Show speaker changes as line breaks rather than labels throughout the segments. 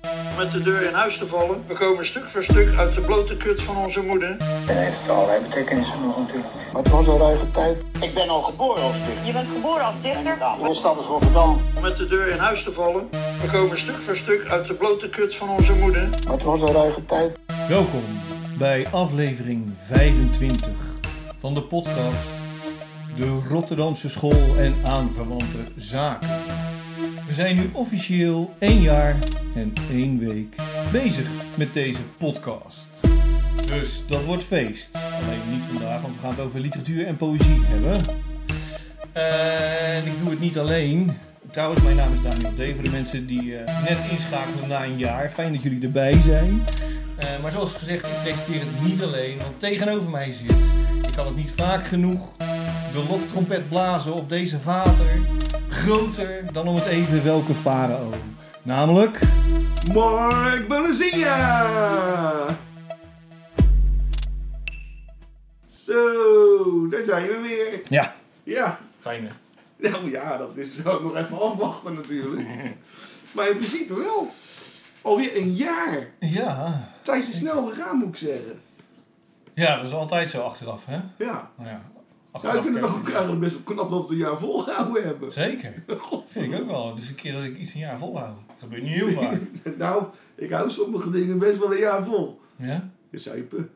om met de deur in huis te vallen. We komen stuk voor stuk uit de blote kut van onze moeder.
En heeft allerlei betekenissen nog natuurlijk.
Maar het was een ruige tijd.
Ik ben al geboren als dichter.
Je bent geboren als dichter?
Nou, mijn stad is Rotterdam.
Om met de deur in huis te vallen. We komen stuk voor stuk uit de blote kut van onze moeder.
Maar het was een ruige tijd.
Welkom bij aflevering 25 van de podcast De Rotterdamse School en aanverwante zaken. We zijn nu officieel één jaar en één week bezig met deze podcast. Dus dat wordt feest. Alleen niet vandaag, want we gaan het over literatuur en poëzie hebben. En ik doe het niet alleen. Trouwens, mijn naam is Daniel D. Voor de mensen die eh, net inschakelen na een jaar. Fijn dat jullie erbij zijn. Eh, maar zoals gezegd, ik presenteer het niet alleen, want tegenover mij zit, ik kan het niet vaak genoeg, de loftrompet blazen op deze vader, groter dan om het even welke farao. Namelijk...
Mark Balazinha! Zo, daar zijn we weer.
Ja,
Ja,
fijne.
nou ja, dat is ook nog even afwachten natuurlijk. Maar in principe wel. Alweer een jaar.
Ja,
Tijdje snel gegaan moet ik zeggen.
ja, dat is altijd zo achteraf, hè?
Ja.
Nou ja,
Ja,
achteraf
ik vind het
kijken.
ook eigenlijk best wel knap dat we een jaar volgehouden hebben.
Zeker, vind ik ook wel. Dus een keer dat ik iets een jaar volhoud. Dat gebeurt niet heel vaak.
Nou, ik hou sommige dingen best wel een jaar vol.
Ja?
Zuipen.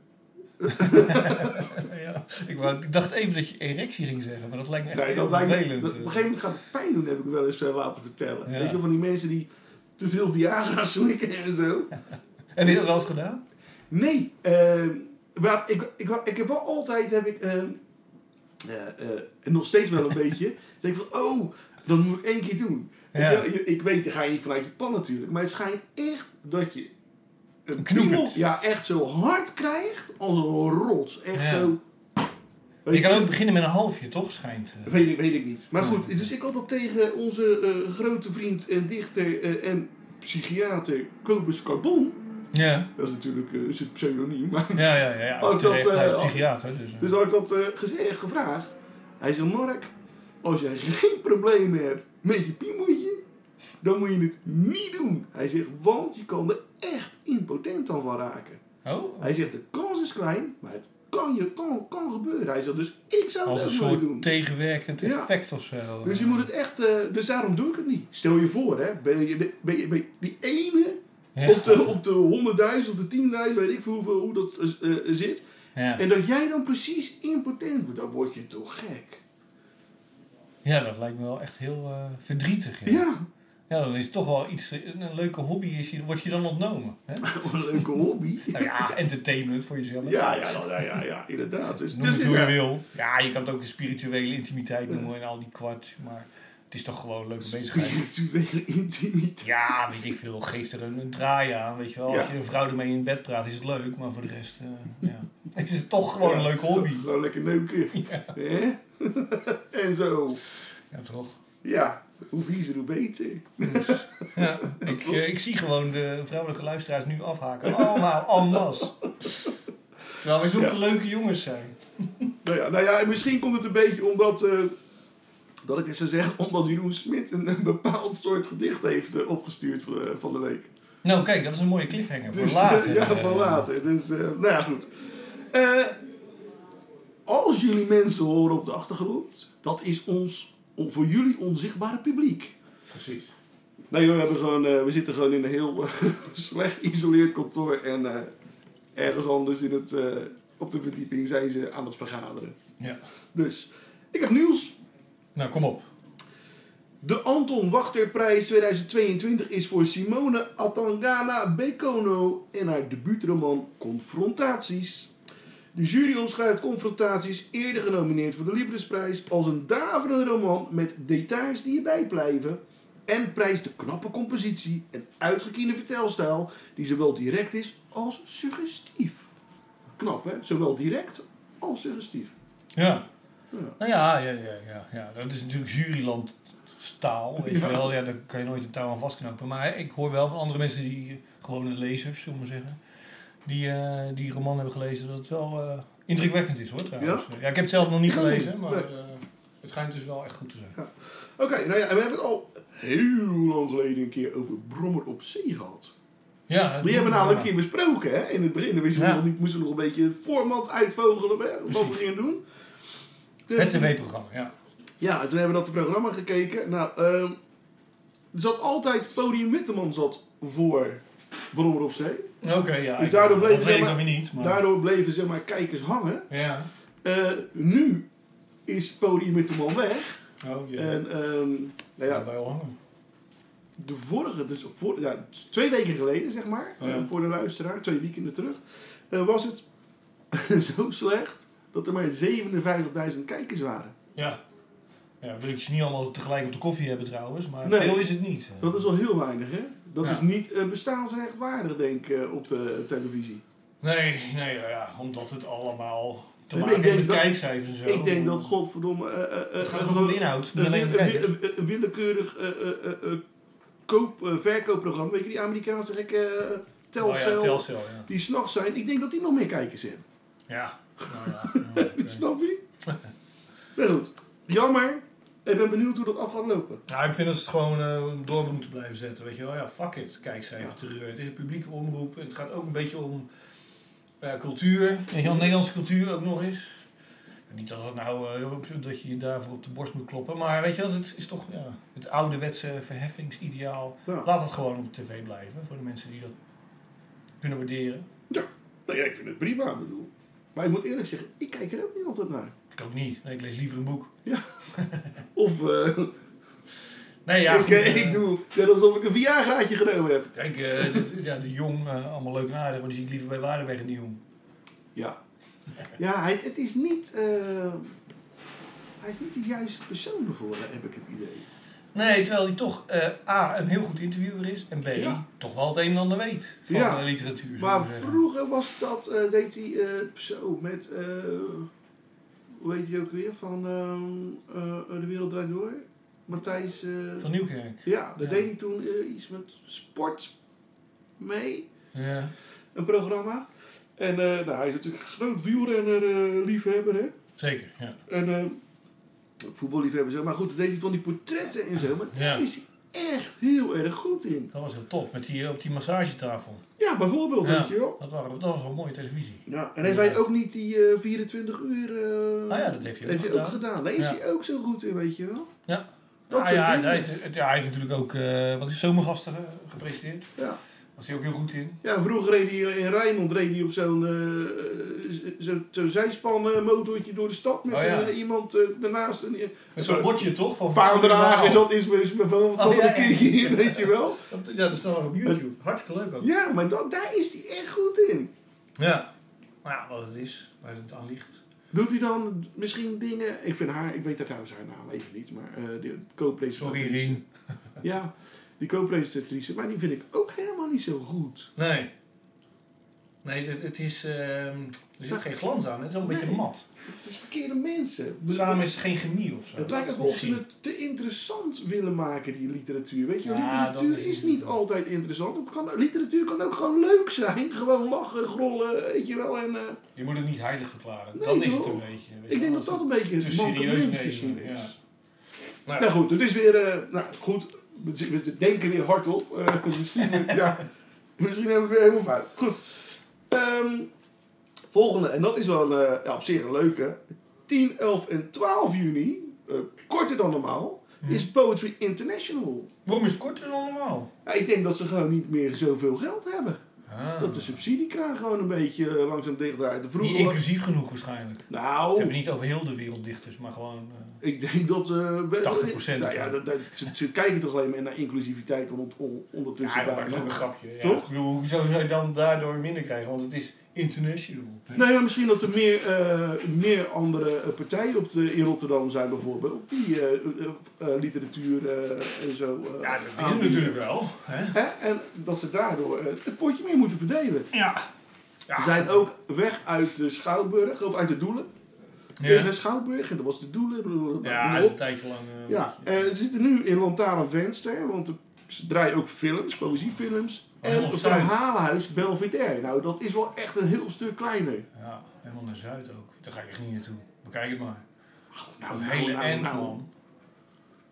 ja. Ik, wou- ik dacht even dat je erectie ging zeggen, maar dat lijkt me echt
Nee,
heel
dat lijkt me,
vervelend. eh.
dat, op een gegeven moment gaat het pijn doen, heb ik wel eens eh, laten vertellen.
Ja.
Weet je, van die mensen die te veel Viagra slikken en zo.
Heb je dat wel eens gedaan?
Nee, ehm, maar ik, ik, ik heb wel altijd, heb ik, ehm, eh, eh, en nog steeds wel een beetje, denk ik van, oh, dat moet ik één keer doen.
Ja.
Weet je, je- Ik weet, daar ga je niet vanuit je pan natuurlijk, maar het schijnt echt dat je een
knoepert.
piemel, ja, echt zo hard krijgt als een rots. Echt
Ja.
zo. Weet
Je kan ook beginnen met een halfje, toch? Schijnt. eh.
Weet ik, weet ik niet. Maar goed, dus ik had dat tegen onze eh, grote vriend en dichter eh, en psychiater Cobus Carbon.
Ja,
Dat is natuurlijk eh, is het pseudoniem. Maar,
ja, ja. ja, ja.
Ook
Terecht,
dat, eh,
hij is psychiater. Dus, eh.
dus had ik dat eh, gezegd, gevraagd. Hij zei, Mark, als jij geen problemen hebt met je piemeltje, dan moet je het niet doen. Hij zegt, want je kan er echt impotent dan van raken.
Oh,
Hij zegt, de kans is klein, maar het kan, je, kan, kan gebeuren. Hij zegt, dus ik zou
als
het
een
ook nooit
soort
doen.
tegenwerkend
Ja.
effect of zo.
Dus je moet het echt, eh, dus daarom doe ik het niet. Stel je voor, hè, ben je, de- ben je, ben je die ene
Ja.
op de, op de 100.000 of de 10.000, weet ik veel hoeveel, hoe dat eh, eh, zit.
Ja.
En dat jij dan precies impotent wordt, dan word je toch gek.
ja, dat lijkt me wel echt heel eh, verdrietig. Ja.
Ja,
Ja, dan is het toch wel iets, een, een leuke hobby is, je- word je dan ontnomen. Hè?
wat een leuke hobby.
Nou ja, entertainment voor jezelf.
Ja, ja, ja, ja, ja, ja, inderdaad. Dus,
Noem
dus
het hoe je
ja.
wil. Ja, je kan het ook de spirituele intimiteit noemen en al die kwart. Maar het is toch gewoon een leuke bezigheid.
Spirituele intimiteit.
Ja, weet ik veel. Geef er een, een draai aan, weet je wel. Als
Ja.
je een vrouw ermee in bed praat, is het leuk. Maar voor de rest, eh, ja. Het is toch gewoon een
Ja,
leuke hobby.
toch Gewoon lekker neuken. Hè? en zo.
Ja, toch.
Ja, hoe viezer, hoe beter.
Ja, ik, eh, ik zie gewoon de vrouwelijke luisteraars nu afhaken. Allemaal en masse. Terwijl wij zulke
Ja.
leuke jongens zijn.
Nou ja, nou ja, en misschien komt het een beetje omdat. eh, dat ik het zou zeggen, omdat Jeroen Smit een, een bepaald soort gedicht heeft eh, opgestuurd van, eh, van de week.
Nou, kijk, dat is een mooie cliffhanger.
Dus,
voor later.
eh, ja,
eh,
van later. Dus, eh, nou ja, goed. Eh, als jullie mensen horen op de achtergrond, dat is ons, on- voor jullie onzichtbare publiek.
Precies.
Nee, joh, we, hebben gewoon, eh, we zitten gewoon in een heel eh, slecht geïsoleerd kantoor. En eh, ergens anders in het, eh, op de verdieping zijn ze aan het vergaderen.
Ja.
Dus, ik heb nieuws.
Nou, kom op.
De Anton Wachterprijs 2022 is voor Simone Atangana Bekono en haar debuutroman Confrontaties. De jury omschrijft Confrontaties, eerder genomineerd voor de Librisprijs, als een daverende roman met details die erbij blijven. En prijst de knappe compositie en uitgekiende vertelstijl die zowel direct is als suggestief. Knap hè, zowel direct als suggestief.
Ja.
Ja.
Nou ja, ja, ja, ja, ja, dat is natuurlijk jurylandstaal, weet je
Ja.
wel. Ja, daar kan je nooit een touw aan vastknopen. Maar ik hoor wel van andere mensen, die eh, gewone lezers, zullen we maar zeggen, die eh, die roman hebben gelezen, dat het wel eh, indrukwekkend is hoor trouwens. Ja? ik heb het zelf nog niet
Ja,
gelezen, maar
nee.
eh, het schijnt dus wel echt goed te zijn.
Oké, nou ja, en we hebben het al heel lang geleden een keer over Brommer op Zee gehad.
Ja,
Die hebben
ja.
namelijk een keer besproken, hè? In het begin wisten we
Ja.
nog niet, moesten we nog een beetje het format uitvogelen, hè, wat we
Precies.
gingen doen. Eh,
Het tv-programma, ja.
Ja, toen hebben we dat programma gekeken. Nou, ehm, er zat altijd Podium Witteman zat voor Brommer op Zee.
Oké, ja.
Dus daardoor bleef
dat
zeg
weet ik
maar-
dan weer niet. Maar,
Daardoor bleven zeg maar kijkers hangen.
Ja.
Eh, nu is Podium Witteman weg.
Oh, ja.
En ehm, nou ja,
bij hangen.
de vorige, dus voor, ja, twee weken geleden zeg maar,
Oh ja.
eh, voor de luisteraar, twee weekenden terug, eh, was het zo slecht dat er maar 57.000 kijkers waren.
Ja. Ja, wil ik ze niet allemaal tegelijk op de koffie hebben trouwens, maar
Nee.
veel is het niet.
Dat is wel heel weinig, hè? Dat
Ja.
is niet eh, bestaansrechtwaardig, denk ik, eh, op de televisie.
Nee, nee, ja, ja, omdat het allemaal te
Ik
maken
denk
heeft met
dat-
kijkcijfers en zo.
Ik denk dat, godverdomme... eh, eh, eh,
Het gaat
eh,
ook om
gewoon-
de inhoud, niet
Een
alleen om
wi-
de
een
kijkers.
wi- een willekeurig eh, eh, eh, eh, koop, eh, verkoopprogramma. Weet je, die Amerikaanse gekke eh,
Oh ja,
telcel,
telcel, ja.
die s'nachts zijn. Ik denk dat die nog meer kijkers hebben.
Ja. Nou ja, ja, oké.
Snap je? nou goed, jammer. Ik ben benieuwd hoe dat af gaat lopen.
Nou, ik vind dat ze het gewoon eh, door moeten blijven zetten. Weet je wel, ja, fuck it. Kijk ze even terug. Het is een publieke omroep. Het gaat ook een beetje om eh, cultuur. Weet je wel, Nederlandse cultuur ook nog eens. Niet dat, dat, nou, eh, op- dat je je daarvoor op de borst moet kloppen. Maar weet je wel, het is toch ja, het ouderwetse verheffingsideaal.
Ja.
Laat het gewoon op tv blijven. Voor de mensen die dat kunnen waarderen.
Nou ja, ik vind het prima, ik bedoel. Maar ik moet eerlijk zeggen, ik kijk er ook niet altijd naar.
Ik ook niet. Nee, ik lees liever een boek.
Of eh,
Nee, ja,
ik,
goed,
eh,
eh,
ik doe net alsof ik een Viagraatje genomen heb.
Kijk, eh, de, ja, de jong, eh, allemaal leuk en aardig. Maar die zie ik liever bij Waardenweg in de jong.
Ja. Ja, hij, het is niet... eh, hij is niet de juiste persoon ervoor, heb ik het idee.
Nee, terwijl hij toch eh, A, een heel goed interviewer is. En B,
Ja.
toch wel het een en ander weet van
Ja.
de literatuur. zullen
Maar
we zeggen.
vroeger was dat, eh, deed hij eh, zo met, eh, hoe heet hij ook weer, van ehm, eh, De Wereld Draait Door? Matthijs, eh,
Van Nieuwkerk.
ja, daar
Ja.
deed hij toen eh, iets met sport mee,
Ja.
een programma. En eh, nou, hij is natuurlijk een groot wielrenner, eh, liefhebber hè.
Zeker, ja.
En eh voetballiefhebber zo, maar goed, dat deed hij van die portretten en zo, maar
Ja.
daar is hij echt heel erg goed in.
Dat was heel tof, met die, op die massagetafel.
Ja, bijvoorbeeld,
Ja.
weet je wel.
Dat, waren, dat was wel mooie televisie.
Ja, en heeft hij ook niet die eh, 24 uur... eh,
Ah ja, dat heeft hij ook
heeft
gedaan.
Daar is
Ja.
hij ook zo goed in, weet je wel.
Ja.
Dat
Ah,
soort
ja,
dingen.
hij, hij- ja, hij heeft natuurlijk ook eh, wat is zomergasten eh, gepresenteerd.
Ja.
Was hij ook heel goed in.
ja, vroeger reed hij eh, in Rijnmond reed hij op zo'n eh, z- zo, zo'n zijspannen motortje door de stad met
Oh ja.
een, eh, iemand eh, daarnaast. En, eh,
Met zo'n bordje toch? Van
Vaandraag is dat is is- van wat
Oh,
zat er
ja,
een keertje in, weet je wel.
Ja, dat staat nog op YouTube. Hartstikke leuk ook.
Ja, maar dat, daar is hij echt goed in.
Ja. Maar ja, wat het is, waar het aan ligt.
Doet hij dan misschien dingen... Ik vind haar... Ik weet dat trouwens haar naam even niet, maar eh de co-presentatrice.
Sorry, Rien.
Ja, die co-presentatrice. Maar die vind ik ook helemaal niet zo goed.
Nee. Nee, het, het is, ehm, er zit geen glans aan. Het is wel een beetje
Nee.
mat.
Het is verkeerde mensen.
Samen is geen chemie of zo.
Het lijkt
Dat
ook alsof
is
ze het te interessant willen maken, die literatuur. Weet je, wel,
Ja, dat
literatuur
is-
is niet altijd interessant. Het kan, literatuur kan ook gewoon leuk zijn. Gewoon lachen, grollen, weet je wel. En, eh,
misschien. Je moet het niet heilig verklaren.
Nee,
Dan is het
toch?
een beetje. weet je
ik denk
wel,
dat dat een beetje
te
het
serieus
mankement
nemen,
misschien
ja.
is.
Nou,
Nou goed, het is weer... eh, nou goed, we we denken weer hardop. Eh, misschien, ja, misschien hebben we het weer helemaal fout. Goed. Ehm, volgende, en dat is wel eh, ja, op zich een leuke. 10, 11 en 12 juni, eh, korter dan normaal, is Poetry International.
Waarom is het korter dan normaal?
Ja, ik denk dat ze gewoon niet meer zoveel geld hebben.
Ah.
Dat de subsidiekraan gewoon een beetje eh, langzaam dichtdraait.
Niet
Vroeger was...
inclusief genoeg waarschijnlijk.
Nou,
Ze hebben niet over heel de wereld dichters, maar gewoon... eh,
ik denk dat... eh, be-
80%
Nou ja,
of zo.
dat, dat, ze, ze kijken toch alleen maar naar inclusiviteit on, on- ondertussen
ja, dat
bijna.
is ook een grapje. Ja.
Toch?
Ik bedoel, hoezo zou je dan daardoor minder krijgen? Want het is international.
Nee, maar misschien dat er meer, eh, meer andere eh, partijen op de, in Rotterdam zijn bijvoorbeeld. Die eh, eh, eh, literatuur eh, en zo eh,
Ja, Ah, dat is
aanbieden.
natuurlijk wel. Hè?
Hè? En dat ze daardoor eh, het potje meer moeten verdelen.
Ja. Ja.
Ze zijn ook weg uit de Schouwburg, of uit de Doelen. Ja.
Ja,
naar Schouwburg en dat was de doelen. Blablabla.
ja een tijdje lang... eh,
ja. dus- En ze zitten nu in Lantaarn Venster, want er- ze draaien ook films, poëziefilms.
Oh,
En
helemaal
het
op Zuid.
verhalenhuis Belvedere. Nou, dat is wel echt een heel stuk kleiner.
Ja, helemaal naar Zuid ook. Daar ga ik echt niet naartoe. Bekijk het maar.
Nou,
Dat hele
nou,
eind,
nou.
man.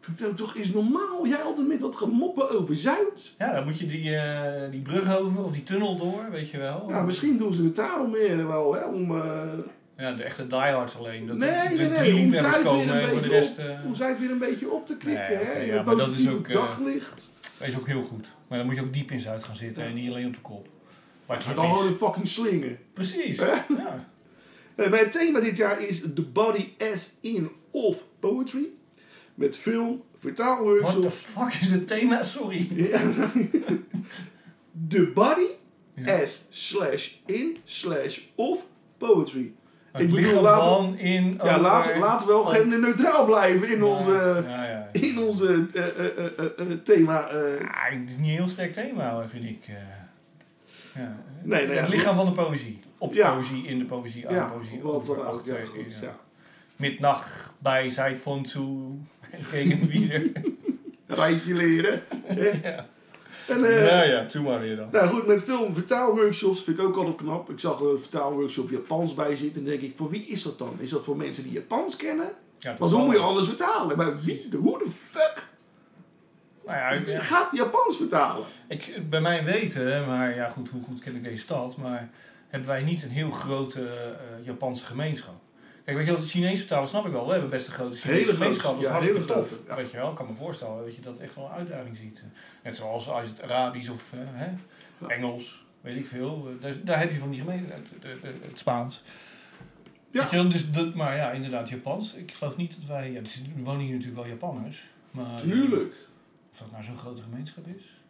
Ik dacht, Toch is normaal, jij altijd met dat gemoppen over Zuid.
Ja, dan moet je die, eh, die brug over of die tunnel door, weet je wel.
Ja, Nou, misschien doen ze het daarom meer wel, hè, om... eh,
Ja, de echte diehards alleen. Dat
nee,
er
nee,
drie
nee, om
liefhebbers
Zuid weer
komen
een
en voor de
beetje
rest...
op,
eh,
om Zuid weer een beetje op te krikken,
Nee,
hè.
oké,
en
ja,
dat
maar dat is
positieve
ook, eh,
daglicht.
Dat is ook heel goed. Maar dan moet je ook diep in Zuid gaan zitten en niet alleen op de kop. Maar het
Maar
hip
dan
is.
gewoon een fucking slingen.
Precies.
Hè?
Ja.
Eh, Mijn thema dit jaar is The Body as in of Poetry. Met film,
What the
vertaalworkshops.
fuck is het thema? Sorry.
Ja. The Body
Ja.
as slash in slash of Poetry.
Het lichaam
laten-
van in...
ja,
over-
laten, laten we
oh.
wel genderneutraal blijven in
Ja,
onze,
ja, ja.
in onze eh, eh, eh, eh, eh, thema. eh.
Ah, het is niet een heel sterk thema, hoor, vind ik. eh. ja.
nee, nee,
het lichaam van de poëzie. Op de
Ja.
poëzie, in de poëzie, aan
ja,
de poëzie.
wat
over,
dan ook. Ja,
achter,
goed,
ja.
ja.
Midnacht bij Zuid-Fonsu. Tegen weer.
Rijtje leren. hè.
Ja.
En, eh,
ja, ja, doe maar weer dan.
Nou goed, met film vertaalworkshops vind ik ook altijd knap. Ik zag er een vertaalworkshop Japans bij zitten. En dan denk ik, voor wie is dat dan? Is dat voor mensen die Japans kennen?
Ja, dat
Want
zal
dan moet je
wel.
alles vertalen. Maar wie, de- hoe de fuck
Nou ja, ik-
gaat Japans vertalen?
Ik, bij mij weten, maar ja goed, hoe goed ken ik deze stad, maar hebben wij niet een heel grote eh, Japanse gemeenschap. Kijk, weet je wel, de Chinese vertalen snap ik wel. We hebben best een grote Chinese
Hele grote,
gemeenschap. Dat is
ja,
hartstikke
hele
tof.
grote, ja.
Weet je wel, ik kan me voorstellen dat je dat echt wel een uitdaging ziet. Net zoals als je het Arabisch of eh, hè,
Ja.
Engels, weet ik veel. eh, daar, daar heb je van die gemeen, het, het- het- het Spaans.
Ja.
Weet je wel, dus dat, maar ja, inderdaad, Japans. Ik geloof niet dat wij... Ja, er zitten- er wonen hier natuurlijk wel Japanners. Maar eh,
Tuurlijk.
Of dat nou zo'n grote gemeenschap is?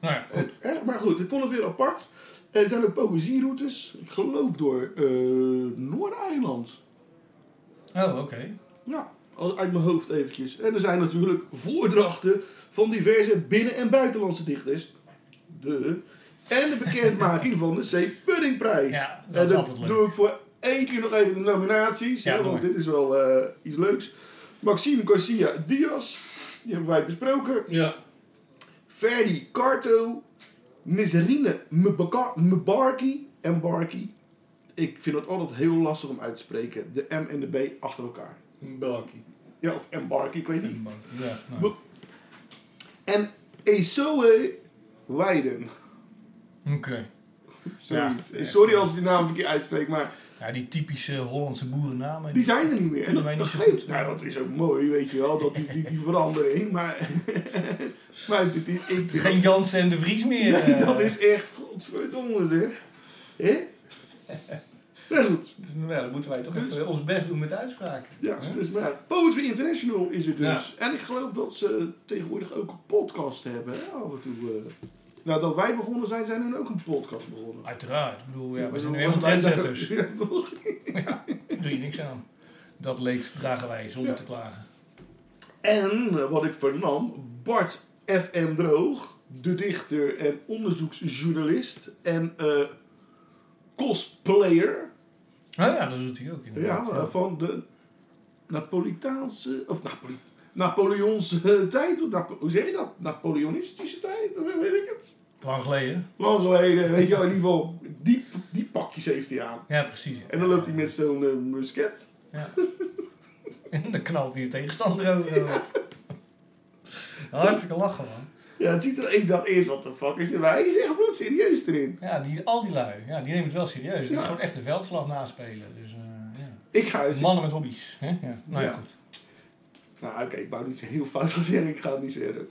Nou ja,
Eh, hè, maar goed, ik vond het weer apart. Er zijn ook poëzieroutes. Ik geloof door eh, Noord-Eiland.
Oh, oké.
Ja, uit mijn hoofd eventjes. En er zijn natuurlijk voordrachten van diverse binnen- en buitenlandse dichters. De. En de bekendmaking van de C. Puddingprijs.
Ja, dat
En
is altijd leuk.
doe ik voor één keer nog even de nominaties.
Ja,
hè,
doe
want
maar.
dit is wel eh, iets leuks. Maxime Garcia Diaz. Die hebben wij besproken.
Ja.
Ferdi Carto. Nizerine Mbaka- Mbarki. En Barki. Ik vind dat altijd heel lastig om uit te spreken. De M en de B achter elkaar.
Bakkie.
Ja, of embark, ik weet niet.
Ja, nou.
Bo- En Esoe Leiden.
Oké.
Zoiets.
Ja, echt.
Sorry als ik die naam verkeerd uitspreek, maar
Ja, die typische Hollandse boerennamen.
die zijn er niet meer. En
Kunnen wij
dat,
niet
dat
zo
geeft.
goed.
Nou, dat is ook mooi, weet je wel, dat die, die, die verandering. Maar, maar dit, is ik,
Geen Jansen en de Vries meer.
Nee,
eh.
dat is echt godverdomme zeg. Hè? Nou goed.
Ja, dan moeten wij toch
Dus-
even ons best doen met uitspraken.
Ja,
Hè?
dus maar Poetry International is het dus. En ik geloof dat ze tegenwoordig ook een podcast hebben, hè, af en toe. eh. Nadat wij begonnen zijn, zijn hun ook een podcast begonnen.
Uiteraard. Ik bedoel, Oh ja, we zijn nu
helemaal
helemaal trendsetters.
Ja, toch?
Doe je niks aan. Dat leed dragen wij zonder
Ja.
te klagen.
En eh, wat ik vernam, Bart F.M. Droog, de dichter en onderzoeksjournalist en eh, cosplayer
Nou ja, dat doet hij ook
ja,
inderdaad.
eh, van de Napolitaanse, of Napoli, Napoleonse eh, tijd, of Napo- hoe zeg je dat? Napoleonistische tijd, of weet ik het.
Lang geleden.
Lang geleden, weet je wel, in ieder geval, die, die pakjes heeft hij aan.
Ja, precies.
En dan loopt hij met zo'n eh, musket.
Ja. en dan knalt hij je tegenstander over. Hartstikke lachen, man.
Ja, het ziet er, ik dacht eerst, wat de fuck is er? Maar hij is echt bloed serieus erin.
Ja, die, al die lui. Ja, die nemen het wel serieus. Het
Ja.
is gewoon echt een veldslag naspelen. Dus, eh, ja.
Ik ga eens
Mannen met hobby's. Hè? Ja. Nou ja,
Ja.
goed.
Nou, oké, ik wou niet zo heel fout gaan zeggen, ik ga het niet zeggen.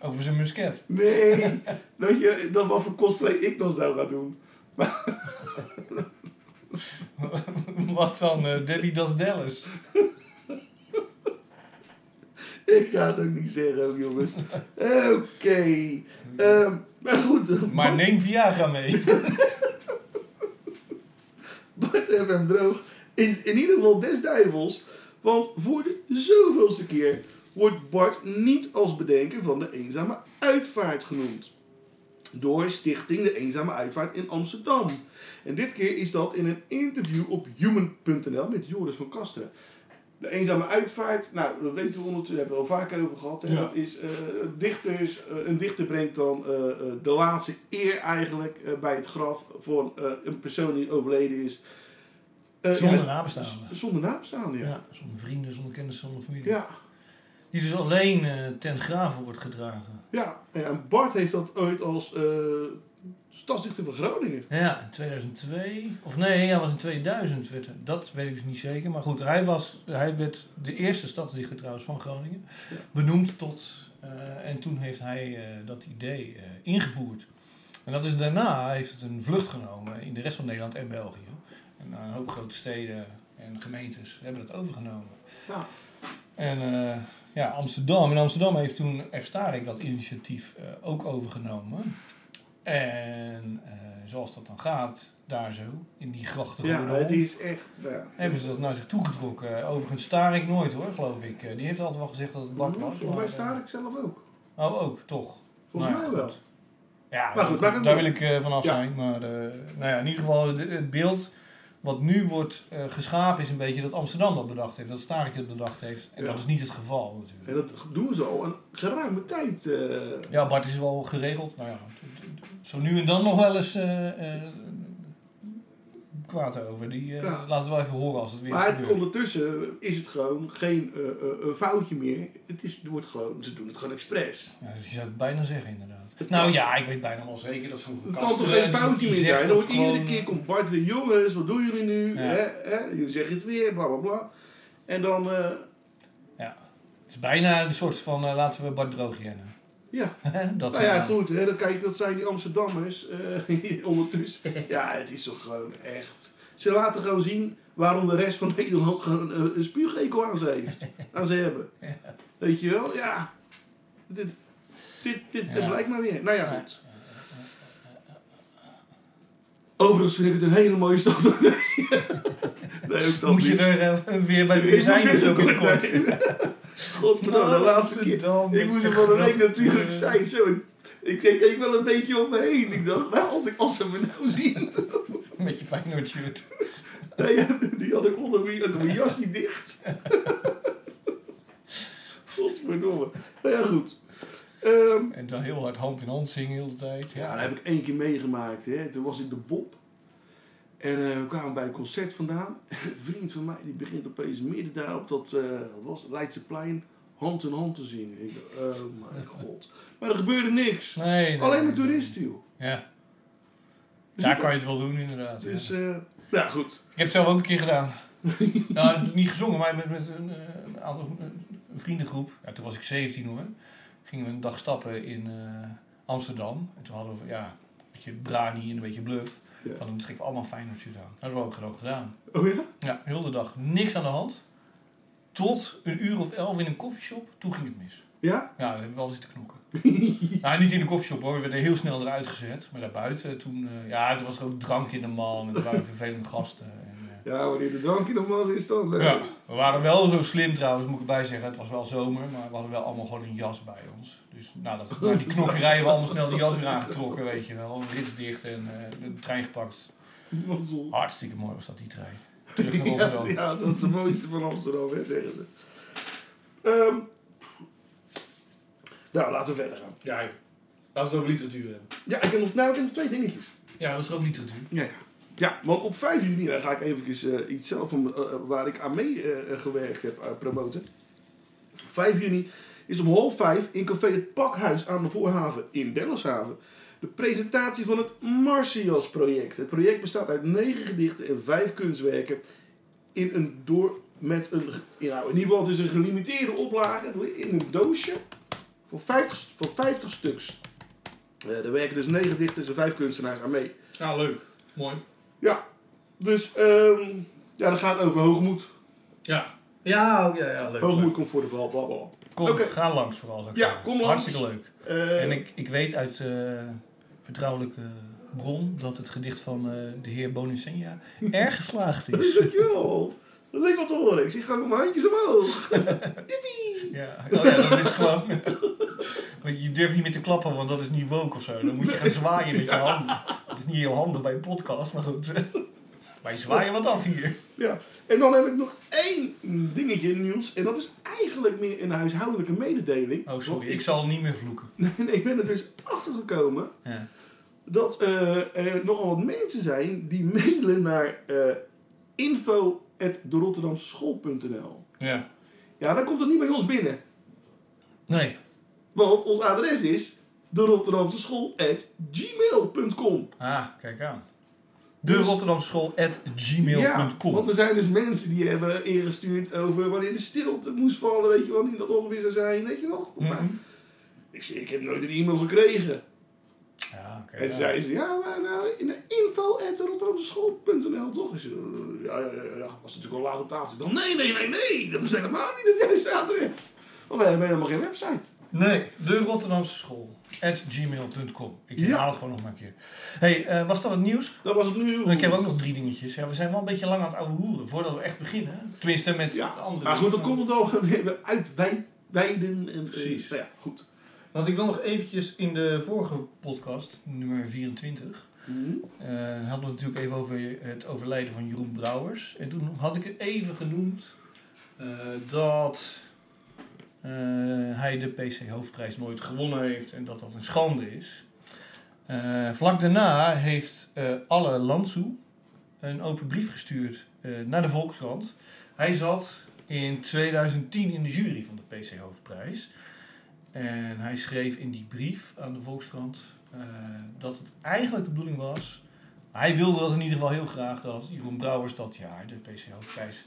Over zijn musket.
Nee, dat je dat wat voor cosplay ik dan zou gaan doen.
Wat dan? eh Debbie Das Dallas.
Ik ga het ook niet zeggen, jongens. Oké. ehm, maar goed,
Maar neem Viagra mee.
Bart FM Droog is in ieder geval des duivels. Want voor de zoveelste keer wordt Bart niet als bedenker van de Eenzame Uitvaart genoemd. Door Stichting De Eenzame Uitvaart in Amsterdam. En dit keer is dat in een interview op human.nl met Joris van Kasteren. De Eenzame Uitvaart, nou dat weten we ondertussen, daar hebben we al vaker over gehad. En
Ja.
Dat is eh, dichters, eh, een dichter brengt dan eh, eh, de laatste eer eigenlijk eh, bij het graf voor eh, een persoon die overleden is. Eh,
Zonder
ja,
nabestaanden.
z- Zonder naam staan, ja.
Ja, zonder vrienden, zonder kennis, zonder familie.
Ja.
Die dus alleen eh, ten graven wordt gedragen.
Ja, en Bart heeft dat ooit als eh stadsdichter van Groningen.
Ja, in 2002. Of nee, hij was in 2000. Werd, hij- dat weet ik dus niet zeker. Maar goed, hij, was, hij werd de eerste stadsdichter trouwens van Groningen. Benoemd tot... eh, en toen heeft hij eh, dat idee eh, ingevoerd. En dat is daarna heeft het een vlucht genomen in de rest van Nederland en België. En een hoop grote steden en gemeentes hebben dat overgenomen.
Ja.
En eh, ja, Amsterdam. En Amsterdam heeft toen F. Starik dat initiatief eh, ook overgenomen. En eh, zoals dat dan gaat, daar zo, in die grachten
Ja,
rondom,
het is echt. nou ja.
hebben ze dat naar zich toegetrokken. Overigens Starik nooit hoor, geloof ik. Eh, Die heeft altijd wel gezegd dat het bak was.
Volgens mij
maar,
sta ik zelf ook.
eh, oh, ook, toch.
Volgens
Nou ja,
mij wel.
goed. Ja,
Maar goed, maak het
daar
niet.
wil ik eh, vanaf
Ja.
zijn. Maar eh, nou ja, in ieder geval, de- het beeld wat nu wordt eh, geschapen is een beetje dat Amsterdam dat bedacht heeft. Dat Starik het bedacht heeft. En
Ja.
dat is niet het geval natuurlijk.
En dat doen ze al een geruime tijd. eh.
Ja, Bart is wel geregeld. Nou ja, t- t- t- zo nu en dan nog wel eens eh, eh, kwaad over. Die eh,
Ja.
laten we wel even horen als het weer is
maar het-
gebeurd.
ondertussen is het gewoon geen eh, eh, eh, foutje meer. Het is, het wordt gewoon, ze doen het gewoon expres.
Ja, dus je zou het bijna zeggen inderdaad.
Het
nou
kan-
ja, ik weet bijna wel zeker dat zo'n
Het kan
Kasteren,
toch geen
die-
foutje
die
meer
zegt
zijn? Dan
dat
wordt iedere
gewoon, eh,
keer komt Bart weer, jongens, wat doen jullie nu?
Ja.
Hè? Hè? Jullie zeggen het weer, bla bla bla. En dan, eh,
Ja. Het is bijna een soort van eh, laten we Bart droog rennen.
ja.
dat eh,
Nou ja,
gedaan.
goed, hè? Dan kijk, dat zijn die Amsterdammers eh, ondertussen. Ja, het is toch gewoon echt. Ze laten gewoon zien waarom de rest van Nederland gewoon eh, een spuugekel aan ze heeft. Aan ze hebben. Weet je wel? Ja. Dit, dit, dit, dit
Ja.
blijkt maar weer. Nou ja, goed. Overigens vind ik het een hele mooie stad. hoor. nee, ook dat
Moet je
niet.
er eh, weer bij
Ik
weer zijn?
moet
Dat is ook in de
dit-
kort. Oh,
Nee. Godverdomme, de laatste keer. Ik moest er van de week natuurlijk
eh,
zijn. Zo, ik- ik keek keek wel een beetje om me heen. Ik dacht, nou, als, ik, als ze me nou zien.
Met je Feyenoord shirt.
Nee, ja, die had ik onder mijn, had ik mijn jas niet dicht. Godverdomme. Nou ja, goed. Ehm,
En dan heel hard hand in hand zingen de hele tijd.
ja, dat heb ik één keer meegemaakt. Hè. Toen was ik de Bob. En eh, we kwamen bij een concert vandaan. Een vriend van mij die begint opeens midden daar op dat eh, wat was het, Leidseplein hand in hand te zingen. Ik dacht, oh mijn god. Maar er gebeurde niks.
Nee, nee,
Alleen
nee,
maar
nee.
toeristen, joh.
Ja.
Dus
Daar
ik-
kan je het wel doen, inderdaad. ja.
Dus, eh nou goed.
Ik heb het zelf ook een keer gedaan. nou, niet gezongen, maar met, met een, eh, een aantal eh, een vriendengroep. Ja, toen was ik 17 hoor. Gingen we een dag stappen in eh, Amsterdam. En toen hadden we ja, een beetje brani en een beetje bluff.
Ja.
Dan hadden we schrik allemaal Feyenoord-shirt aan. Dat hebben we ook gewoon gedaan.
Oh ja?
Ja, heel de dag niks aan de hand. Tot een uur of elf in een koffieshop. Toen ging het mis.
Ja?
Ja, we hebben wel zitten knokken. nou, niet in de koffieshop hoor. We werden heel snel eruit gezet. Maar daarbuiten toen... eh, ja, toen was er ook drank in de man. En er waren vervelende gasten. En, eh,
Ja, wanneer de drankje normaal is dan. eh,
ja, we waren wel zo slim trouwens, moet ik erbij zeggen. Het was wel zomer, maar we hadden wel allemaal gewoon een jas bij ons. Dus na, dat, na die knokkerij hebben we allemaal snel de jas weer aangetrokken, weet je wel. Rits dicht en eh, de trein gepakt.
mazzel.
Hartstikke mooi was dat, die trein. Terug naar
Ja,
Rotterdam.
ja, dat is de mooiste van Amsterdam, hè, zeggen ze. Ehm, nou, laten we verder gaan.
Ja, laten we het over literatuur hebben.
Ja, ik heb nog, nou, ik heb nog twee dingetjes.
Ja, dat is ook literatuur.
Ja, ja. ja want op 5 juni eh, ga ik even iets zelf van, eh, waar ik aan mee eh, eh, gewerkt heb eh, promoten. 5 juni is om half 5 in café Het Pakhuis aan de Voorhaven in Delfshaven. De presentatie van het Marcias project. Het project bestaat uit 9 gedichten en 5 kunstwerken in een door met een ja, nou, in ieder geval het is een gelimiteerde oplage in een doosje voor 50, st- voor 50 stuks. Eh, er werken dus 9 dichters en 5 kunstenaars aan mee.
Ja, leuk. Mooi.
Ja, dus ehm, ja, dat gaat over hoogmoed.
Ja. Ja, ja, ja, leuk.
Hoogmoed komt voor de val, blablabla.
Kom,
Oké.
ga langs vooral. zou ik
Ja,
zeggen.
kom langs.
Hartstikke leuk.
Eh,
En ik, ik weet uit eh, vertrouwelijke bron dat het gedicht van eh, de heer Bonicenia erg geslaagd is.
Dankjewel. Dat leek wat te horen. Ik zie gewoon met mijn handjes omhoog.
Ja, oh ja dat is gewoon. Want je durft niet meer te klappen, want dat is niet woke of zo. Dan moet je gaan zwaaien met je handen. Dat is niet heel handig bij een podcast, maar goed. Maar je zwaaien wat af hier.
Ja. En dan heb ik nog één dingetje nieuws. En dat is eigenlijk meer een huishoudelijke mededeling.
Oh,
Want
sorry, ik zal niet meer vloeken.
Nee, nee, ik ben er dus achter gekomen
Ja.
dat eh, er nogal wat mensen zijn die mailen naar eh info@derotterdamschool.nl.
ja.
Ja, dan komt het niet bij ons binnen.
Nee.
Want ons adres is de Rotterdamse school gmail.com.
Ah, kijk aan. Dus- De Rotterdamse school at
Ja,
gmail.com.
want er zijn dus mensen die hebben ingestuurd over wanneer de stilte moest vallen, weet je wel, die dat ongeveer zou zijn, weet je nog?
Mhm.
Maar ik zei, ik heb nooit een e-mail gekregen.
Ja, oké.
En
ja.
toen zei ze, ja, maar nou, in de info toch? Ik zei, eh, ja, ja, ja, ja, was natuurlijk al laat op tafel. Ik dacht, nee, nee, nee, nee, dat is helemaal niet het juiste adres. Want wij hebben helemaal geen website.
Nee, de Rotterdamse school at gmail.com. Ik
Ja.
herhaal het gewoon nog maar een keer. hey, eh, was dat het nieuws?
Dat was het nu.
Ik heb ook nog drie dingetjes. Ja, we zijn wel een beetje lang aan het ouwe hoeren voordat we echt beginnen. Tenminste, met
Ja,
de andere
maar goed, dan
dingen.
komt het al weer uit wij- wijden en
Precies.
eh, nou ja, goed.
Want ik wil nog eventjes in de vorige podcast, nummer 24, eh, hadden we het natuurlijk even over het overlijden van Jeroen Brouwers. En toen had ik even genoemd eh, dat eh, hij de PC Hoofdprijs nooit gewonnen heeft en dat dat een schande is. Eh, vlak daarna heeft eh Alle Landsoe een open brief gestuurd eh, naar de Volkskrant. Hij zat in 2010 in de jury van de PC Hoofdprijs. En hij schreef in die brief aan de Volkskrant eh, dat het eigenlijk de bedoeling was. Hij wilde dat in ieder geval heel graag dat Jeroen Brouwers dat jaar de PC Hoofdprijs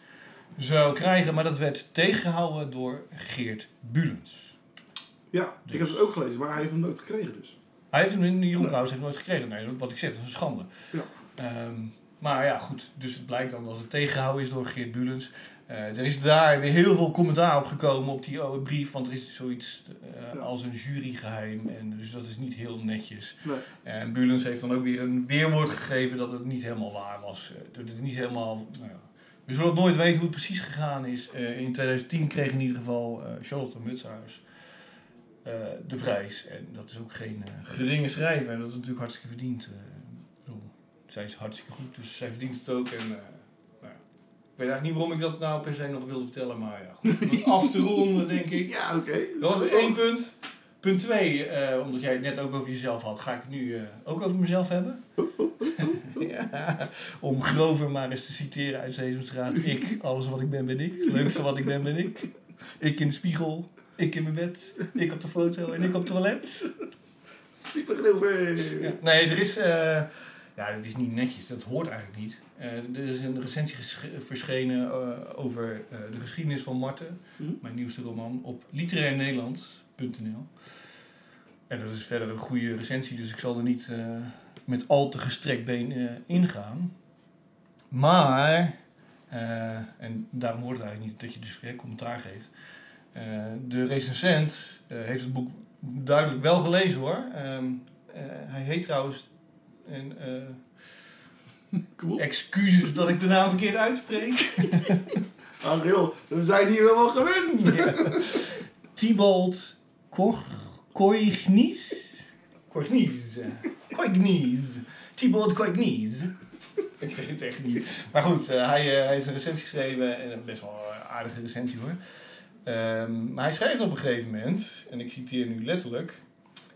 zou krijgen. Maar dat werd tegengehouden door Geert Bulens.
Ja, ik
Dus-
heb het ook gelezen, maar hij heeft hem nooit gekregen dus.
Hij heeft hem in Jeroen
Nee.
Brouwers heeft nooit gekregen. Nee, wat ik zeg, dat is een schande.
Ja.
Ehm, maar ja, goed. Dus het blijkt dan dat het tegengehouden is door Geert Bulens. Eh, er is daar weer heel veel commentaar op gekomen op die oude brief. Want er is zoiets eh,
Ja.
als een jurygeheim. En dus dat is niet heel netjes.
Nee.
En Bulens heeft dan ook weer een weerwoord gegeven dat het niet helemaal waar was. Eh, Dat het niet helemaal. Nou ja. We zullen het nooit weten hoe het precies gegaan is. Eh, in 2010 kreeg in ieder geval eh, Charlotte Mutshuis eh, de prijs. En dat is ook geen eh, geringe schrijver. En dat is natuurlijk hartstikke verdiend. eh. Ik bedoel, zij is hartstikke goed, dus zij verdient het ook. En, eh, nou ja. Ik weet eigenlijk niet waarom ik dat nou per se nog wilde vertellen. Maar ja, goed. Om het af te ronden, denk ik.
Ja, oké.
Dat was
is wel
één
toch-
punt. Punt twee, eh, omdat jij het net ook over jezelf had, ga ik het nu eh, ook over mezelf hebben. ja, om Grover maar eens te citeren uit Sesamstraat. Ik, alles wat ik ben, ben ik. Leukste wat ik ben, ben ik. Ik in de spiegel, ik in mijn bed, ik op de foto en ik op het toilet.
Super Grover.
Ja. Nee, er is... eh, ja, dat is niet netjes, dat hoort eigenlijk niet. Eh, er is een recensie gesch- verschenen eh, over eh, de geschiedenis van Marten,
Mhm.
mijn nieuwste roman, op literairnederland.nl. En dat is verder een goede recensie, dus ik zal er niet eh, met al te gestrekt been eh, ingaan. Maar, eh, en daarom hoort het eigenlijk niet dat je dus weer commentaar geeft. Eh, de recensent eh, heeft het boek duidelijk wel gelezen hoor. Ehm, eh, hij heet trouwens. En, eh,
Kom op.
Excuses dat ik de naam verkeerd uitspreek.
Ariel, Nou, we zijn hier wel wel gewend.
Tibalt Koignies. Koignies. Koignies. Tibalt Koignies. Ik weet het echt niet. Maar goed, eh, hij, eh, hij heeft een recensie geschreven. En een best wel eh, aardige recensie hoor. Ehm, maar hij schrijft op een gegeven moment, en ik citeer nu letterlijk.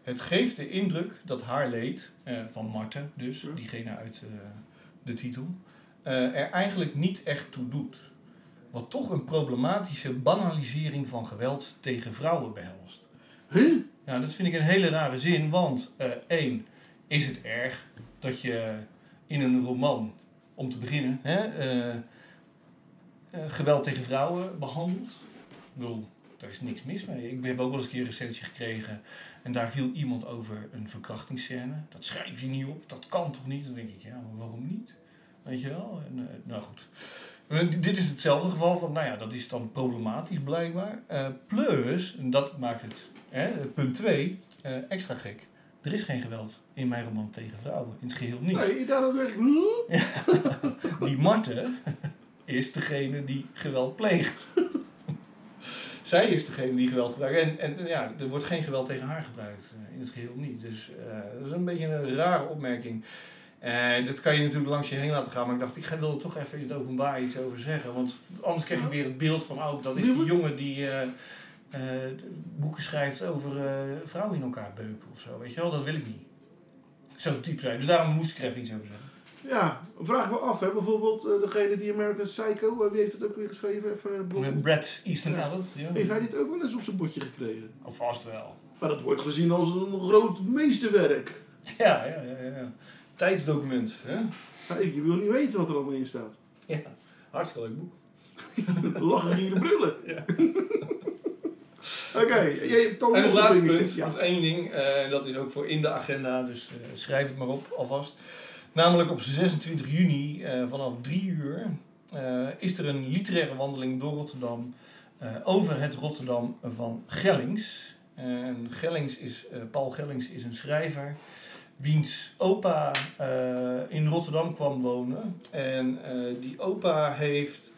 Het geeft de indruk dat haar leed, eh, van Marten dus,
Ja.
diegene uit eh, de titel, eh, er eigenlijk niet echt toe doet. Wat toch een problematische banalisering van geweld tegen vrouwen behelst.
Huh?
Nou, dat vind ik een hele rare zin, want eh één, is het erg dat je in een roman, om te beginnen, hè, eh, eh, geweld tegen vrouwen behandelt? Ik bedoel, daar is niks mis mee. Ik heb ook wel eens een keer een recensie gekregen en daar viel iemand over een verkrachtingsscène. Dat schrijf je niet op, dat kan toch niet? Dan denk ik, ja, maar waarom niet? Weet je wel? En, eh, nou goed. Eh, Dit is hetzelfde geval van, nou ja, dat is dan problematisch blijkbaar. Eh, plus, en dat maakt het, hè, punt 2, extra gek. Er is geen geweld in mijn roman tegen vrouwen, in het geheel niet.
Nee, daar had ik...
Die Marten is degene die geweld pleegt. Zij is degene die geweld gebruikt. En, en ja, er wordt geen geweld tegen haar gebruikt. eh, In het geheel niet. Dus eh, dat is een beetje een rare opmerking. Eh dat kan je natuurlijk langs je heen laten gaan. Maar ik dacht, ik ga- wil er toch even in het openbaar iets over zeggen. Want anders krijg je weer het beeld van... Oh, dat is die jongen die eh, eh, boeken schrijft over eh, vrouwen in elkaar beuken of zo. Weet je wel, dat wil ik niet. Zo diep zijn. Dus daarom moest ik er even iets over zeggen.
Ja, vraag ik me af, hè. bijvoorbeeld eh, degene die American Psycho, eh, wie heeft het ook weer geschreven? Even, een blok.
Met Brad Easton
Ja.
Ellis. Ja.
heeft hij dit ook wel eens op zijn bordje gekregen?
Of vast wel.
Maar dat wordt gezien als een groot meesterwerk.
Ja, ja, ja. ja. Tijdsdocument. Hè?
Ja, ik wil niet weten wat er allemaal in staat.
Ja, hartstikke leuk boek.
Lachen hier de brullen.
Ja.
Oké, jij hebt toch
En het
nog
laatste
dingetjes.
punt, nog één ding, eh, en dat is ook voor in de agenda, dus eh, schrijf het maar op alvast. Namelijk op 26 juni eh, vanaf 3 uur eh, is er een literaire wandeling door Rotterdam eh, over het Rotterdam van Gellings. En Gellings is, eh, Paul Gellings is een schrijver wiens opa eh, in Rotterdam kwam wonen. En eh, die opa heeft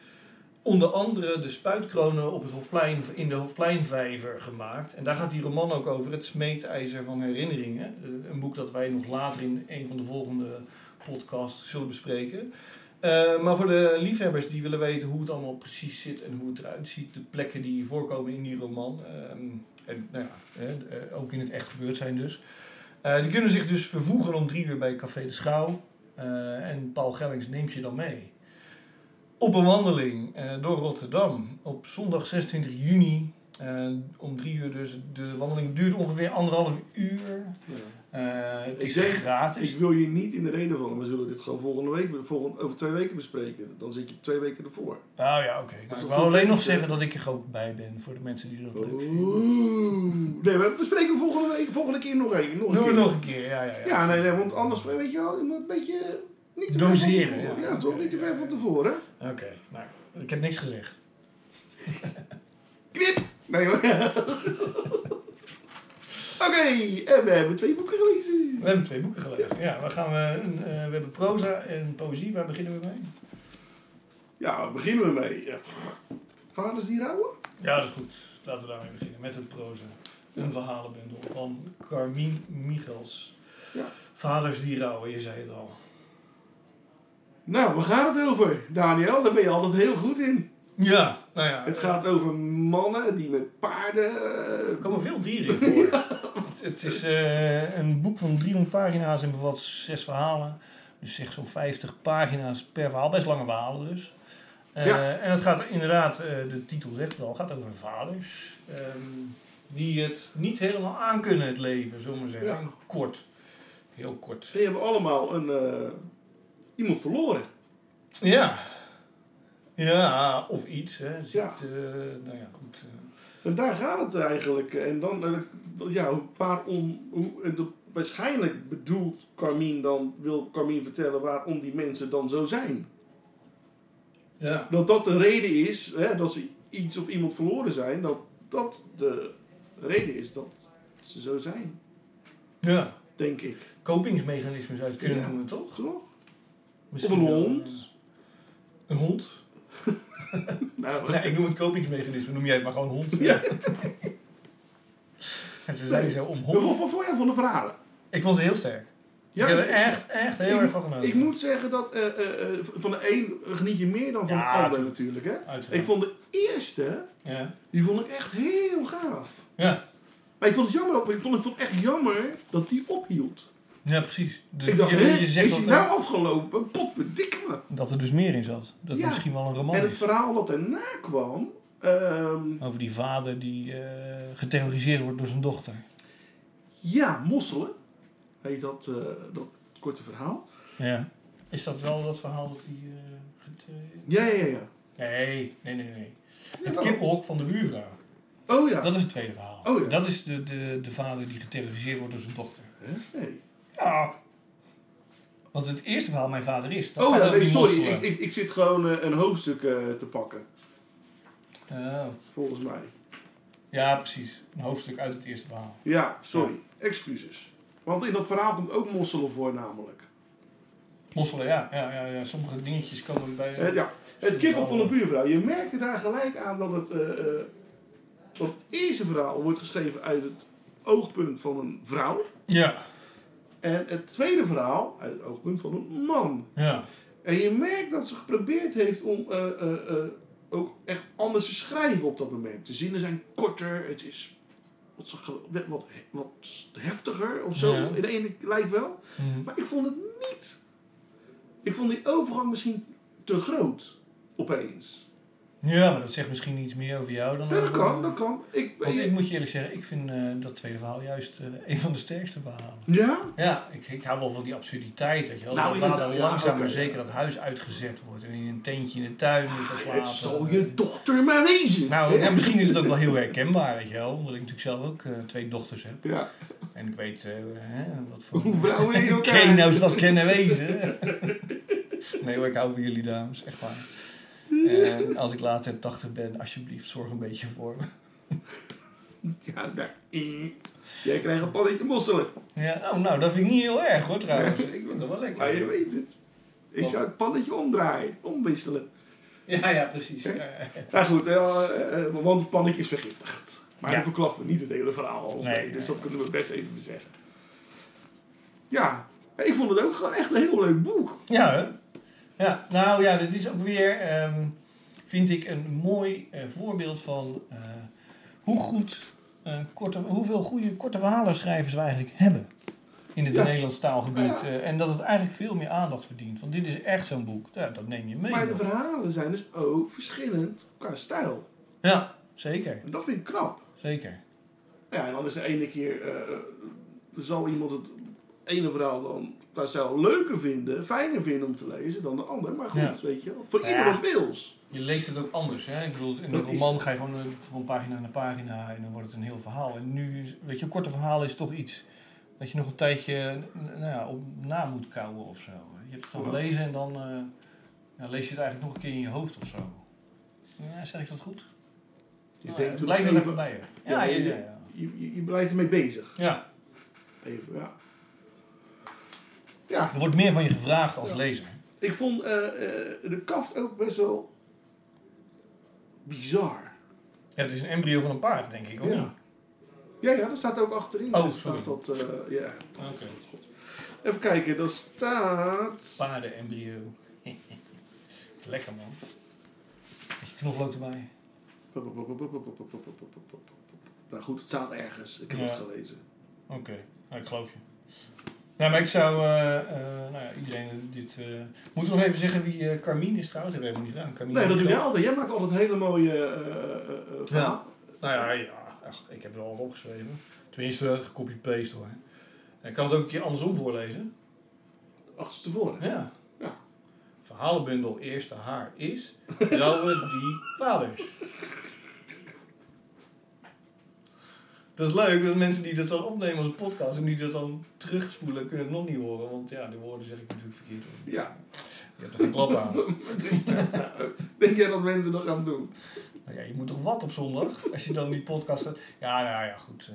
onder andere de spuitkronen op het Hofplein, in de Hofpleinvijver gemaakt. En daar gaat die roman ook over, Het smeetijzer van herinneringen. Eh, Een boek dat wij nog later in een van de volgende podcasts zullen bespreken. Eh, maar voor de liefhebbers die willen weten hoe het allemaal precies zit en hoe het eruit ziet, de plekken die voorkomen in die roman, ehm, en nou ja, hè, eh, ook in het echt gebeurd zijn dus, Eh, die kunnen zich dus vervoegen om drie uur bij Café de Schouw. Eh, en Paul Gellings neemt je dan mee op een wandeling eh, door Rotterdam op zondag 26 juni. eh, om drie uur dus. De wandeling duurt ongeveer anderhalf uur.
Ja.
Eh, het
Ik
is
denk-
gratis.
Ik wil je niet in de reden vallen, maar zullen we dit gewoon volgende week, volgende, over twee weken bespreken. Dan zit je twee weken ervoor.
Nou ja, oké.
Dat is
Nou, ik
een goed
wou
Oh.
alleen nog
puntje.
zeggen dat ik er ook bij ben. Voor de mensen die dat leuk vinden.
Oeh. Nee, we bespreken volgende week, volgende keer nog één. Nog een
Doe
keer.
het nog een keer. Ja, ja, ja.
Ja, nee, nee, want anders, weet je wel, je moet een beetje... Niet te ver
Doseren,
van tevoren.
ja.
Ja, toch? Niet te ver van tevoren. hè?
Oké. Nou, ik heb niks gezegd.
Knip! Nee, hoor. Oké, en we hebben twee boeken gelezen.
We hebben twee boeken gelezen. Ja, we, gaan we, een, eh, we hebben proza en poëzie. Waar beginnen we mee?
Ja, waar beginnen we mee. Ja. Vaders die rouwen?
Ja, dat is goed. Laten we daarmee beginnen. Met het proza. Een verhalenbundel van Carmien Michels.
Ja.
Vaders die rouwen, je zei het al.
Nou, waar gaat het over, Daniel? Daar ben je altijd heel goed in.
Ja, nou ja.
Het gaat over mannen die met paarden... eh,
Er komen veel dieren in voor. Het, het is eh, een boek van 300 pagina's en bevat zes verhalen. Dus zeg zo'n 50 pagina's per verhaal. Best lange verhalen dus. Eh,
Ja.
En het gaat inderdaad, eh, de titel zegt het al, gaat over vaders. ehm, die het niet helemaal aankunnen, het leven, zullen we maar zeggen.
Ja.
Kort. Heel kort.
Die hebben allemaal een, eh, iemand verloren.
Ja. Ja, of iets. Hè. Ziet,
Ja.
nou ja, goed. eh,
En daar gaat het eigenlijk. En dan, eh, ja, waarom, hoe, en dat- waarschijnlijk bedoelt Carmien dan, wil Carmien vertellen waarom die mensen dan zo zijn.
ja.
Dat dat de reden is, hè, dat ze iets of iemand verloren zijn, dat dat de reden is dat ze zo zijn,
ja.
denk ik.
Kopingsmechanismen zou je het kunnen
Ja.
noemen, toch?
Toch? Of
Misschien
een
wel,
hond.
eh, Een hond?
Nou,
Ja, ik noem het kopingsmechanisme, noem jij het maar gewoon hond.
Ja.
En ze zijn zo om
Wat
hond.
wat vond jij van de verhalen?
Ik vond ze heel sterk.
Ja,
ik heb er echt, echt heel erg van genoten.
Ik moet zeggen dat eh, eh, eh, van de een geniet je meer dan van
Ja,
de ander natuurlijk.
tuurlijk.
Hè?
Uiteraard.
Ik vond de eerste,
Ja.
die vond ik echt heel gaaf.
Ja.
Maar ik vond het jammer, ook- ik vond, ik vond het echt jammer dat die ophield.
ja, precies. Dus
ik dacht, hè, is
dat, eh,
die
er-
nou afgelopen? Potverdikke me.
dat er dus meer in zat. Dat
Ja.
het misschien wel een roman
En het
is.
verhaal dat erna kwam, ehm,
Over die vader die eh, geterroriseerd wordt door zijn dochter.
ja, mosselen, heet dat, eh, dat korte verhaal.
Ja. Is dat wel dat verhaal dat hij... eh, gete-
Ja, ja, ja. ja.
nee, nee, nee, nee. Het
Jawel.
kippenhok van de buurvrouw.
Oh ja.
Dat is het tweede verhaal.
Oh ja.
Dat is de, de, de vader die geterroriseerd wordt door zijn dochter.
Nee.
Ja. Want het eerste verhaal mijn vader is. Dat
Oh
gaat
ja,
over
nee,
die
sorry,
mosselen.
ik, ik, ik zit gewoon eh, een hoofdstuk eh, te pakken,
Oh.
volgens mij.
ja, precies. Een hoofdstuk uit het eerste verhaal.
Ja, sorry, excuses. Want in dat verhaal komt ook mosselen voor, namelijk.
Mosselen, ja. ja, ja, ja. Sommige dingetjes komen bij...
Eh, ja, het kippen van de buurvrouw. Je merkte daar gelijk aan dat het, eh, eh, dat het eerste verhaal wordt geschreven uit het oogpunt van een vrouw.
Ja,
En het tweede verhaal uit het oogpunt van een man.
ja.
En je merkt dat ze geprobeerd heeft om eh, eh, eh, ook echt anders te schrijven op dat moment. De zinnen zijn korter, het is wat, ze gel- wat, wat heftiger of zo.
Ja.
In de ene lijkt wel.
Mhm.
Maar ik vond het niet. Ik vond die overgang misschien te groot, opeens.
Ja, maar dat zegt misschien iets meer over jou dan
Ja, dat
over-
kan, dat kan. Ik,
Want ik moet je eerlijk zeggen, ik vind eh, dat tweede verhaal juist eh, een van de sterkste verhalen.
Ja?
Ja, ik, ik hou wel van die absurditeit, weet je wel.
Nou,
dat vader
inderdaad, ja,
langzaam maar
oké.
zeker dat huis uitgezet wordt en in een tentje in de tuin moet gaan slapen.
Het zal je dochter maar wezen.
Nou, ja, misschien is het ook wel heel herkenbaar, weet je wel. Omdat ik natuurlijk zelf ook eh, twee dochters heb.
Ja.
En ik weet eh, hè, wat voor...
Hoe vrouwen in elkaar.
Keno's nou, dat kennen wezen. nee hoor, ik hou van jullie dames, echt waar. En als ik later 80 ben, alsjeblieft, zorg een beetje voor me.
Ja, daar. Jij krijgt een pannetje mosselen.
Ja, oh, nou, dat vind ik niet heel erg hoor trouwens. Ik vind dat wel
Maar je
lekker.
weet het. Ik zou het pannetje omdraaien, omwisselen.
Ja, ja, precies.
Ja goed, eh, eh, want het pannetje is vergiftigd. Maar
Ja.
dan verklappen we niet het hele verhaal al
Nee,
mee,
nee,
dus dat kunnen we best even zeggen. Ja, ik vond het ook gewoon echt een heel leuk boek.
Ja, hè? ja, nou ja, dit is ook weer, ehm, vind ik, een mooi eh, voorbeeld van eh, hoe goed, eh, korte, hoeveel goede korte verhalenschrijvers we eigenlijk hebben in het
Ja.
Nederlands taalgebied.
Ja.
Eh, en dat het eigenlijk veel meer aandacht verdient. Want dit is echt zo'n boek, ja, dat neem je mee.
Maar de
nog.
verhalen zijn dus ook verschillend qua stijl.
Ja, zeker,
En dat vind ik knap.
zeker.
Ja, en dan is de ene keer... eh, zal iemand het ene verhaal dan qua stijl leuker vinden, fijner vinden om te lezen dan de ander. Maar goed,
Ja.
weet je wel. Voor
Ja.
ieder wat wils.
Je leest het ook anders, hè? Ik bedoel, in een
Dat is-
roman ga je gewoon eh, van pagina naar pagina en dan wordt het een heel verhaal. En nu, is- weet je, een korte verhaal is toch iets dat je nog een tijdje eh, nou ja, op na moet kouwen of zo. Je hebt het dan
Ja.
gelezen en dan eh, ja, lees je het eigenlijk nog een keer in je hoofd of zo. Ja, zeg ik dat goed?
Je
Nou,
denkt
ja,
er
blijf
nog
er even
even-
bij, hè?
Ja,
Ja, ja,
je-
ja, ja.
Je, je, je blijft ermee bezig.
Ja,
Even, ja. Ja,
er wordt meer van je gevraagd als lezer.
ik vond eh, eh, de kaft ook best wel bizar.
Ja, het is een embryo van een paard, denk ik, of niet?
Ja. Ja, ja, dat staat ook achterin.
Oh,
Daar
sorry.
staat dat, eh, ja.
Oké.
Even kijken, dat staat...
Paardenembryo. Lekker, man. Beetje knoflook erbij.
Nou goed, het staat ergens. Ik heb
Ja.
het gelezen.
Oké, nou, ik geloof je. Nou, maar ik zou eh, eh, nou ja, iedereen dit. eh, Moeten we nog even zeggen wie eh Carmine is trouwens? Dat hebben we helemaal niet gedaan. Carmine
Nee, dat doe
Nico.
jij altijd. Jij maakt altijd hele mooie eh, eh, eh, verhaal.
Nou ja, ja ach, ik heb er al wat opgeschreven. Tenminste, gecopy-paste hoor. Ik kan het ook een keer andersom voorlezen.
Achterstevoren.
Ja.
Ja.
Verhalenbundel Eerste Haar is. Jouwe die vaders. Dat is leuk, dat mensen die dat dan opnemen als een podcast en die dat dan terugspoelen, kunnen het nog niet horen. Want ja, de woorden zeg ik natuurlijk verkeerd. hoor.
Ja.
Je hebt er geen klap aan.
Denk jij dat mensen dat gaan doen?
Nou ja, je moet toch wat op zondag? Als je dan die podcast gaat. Ja, nou ja, goed.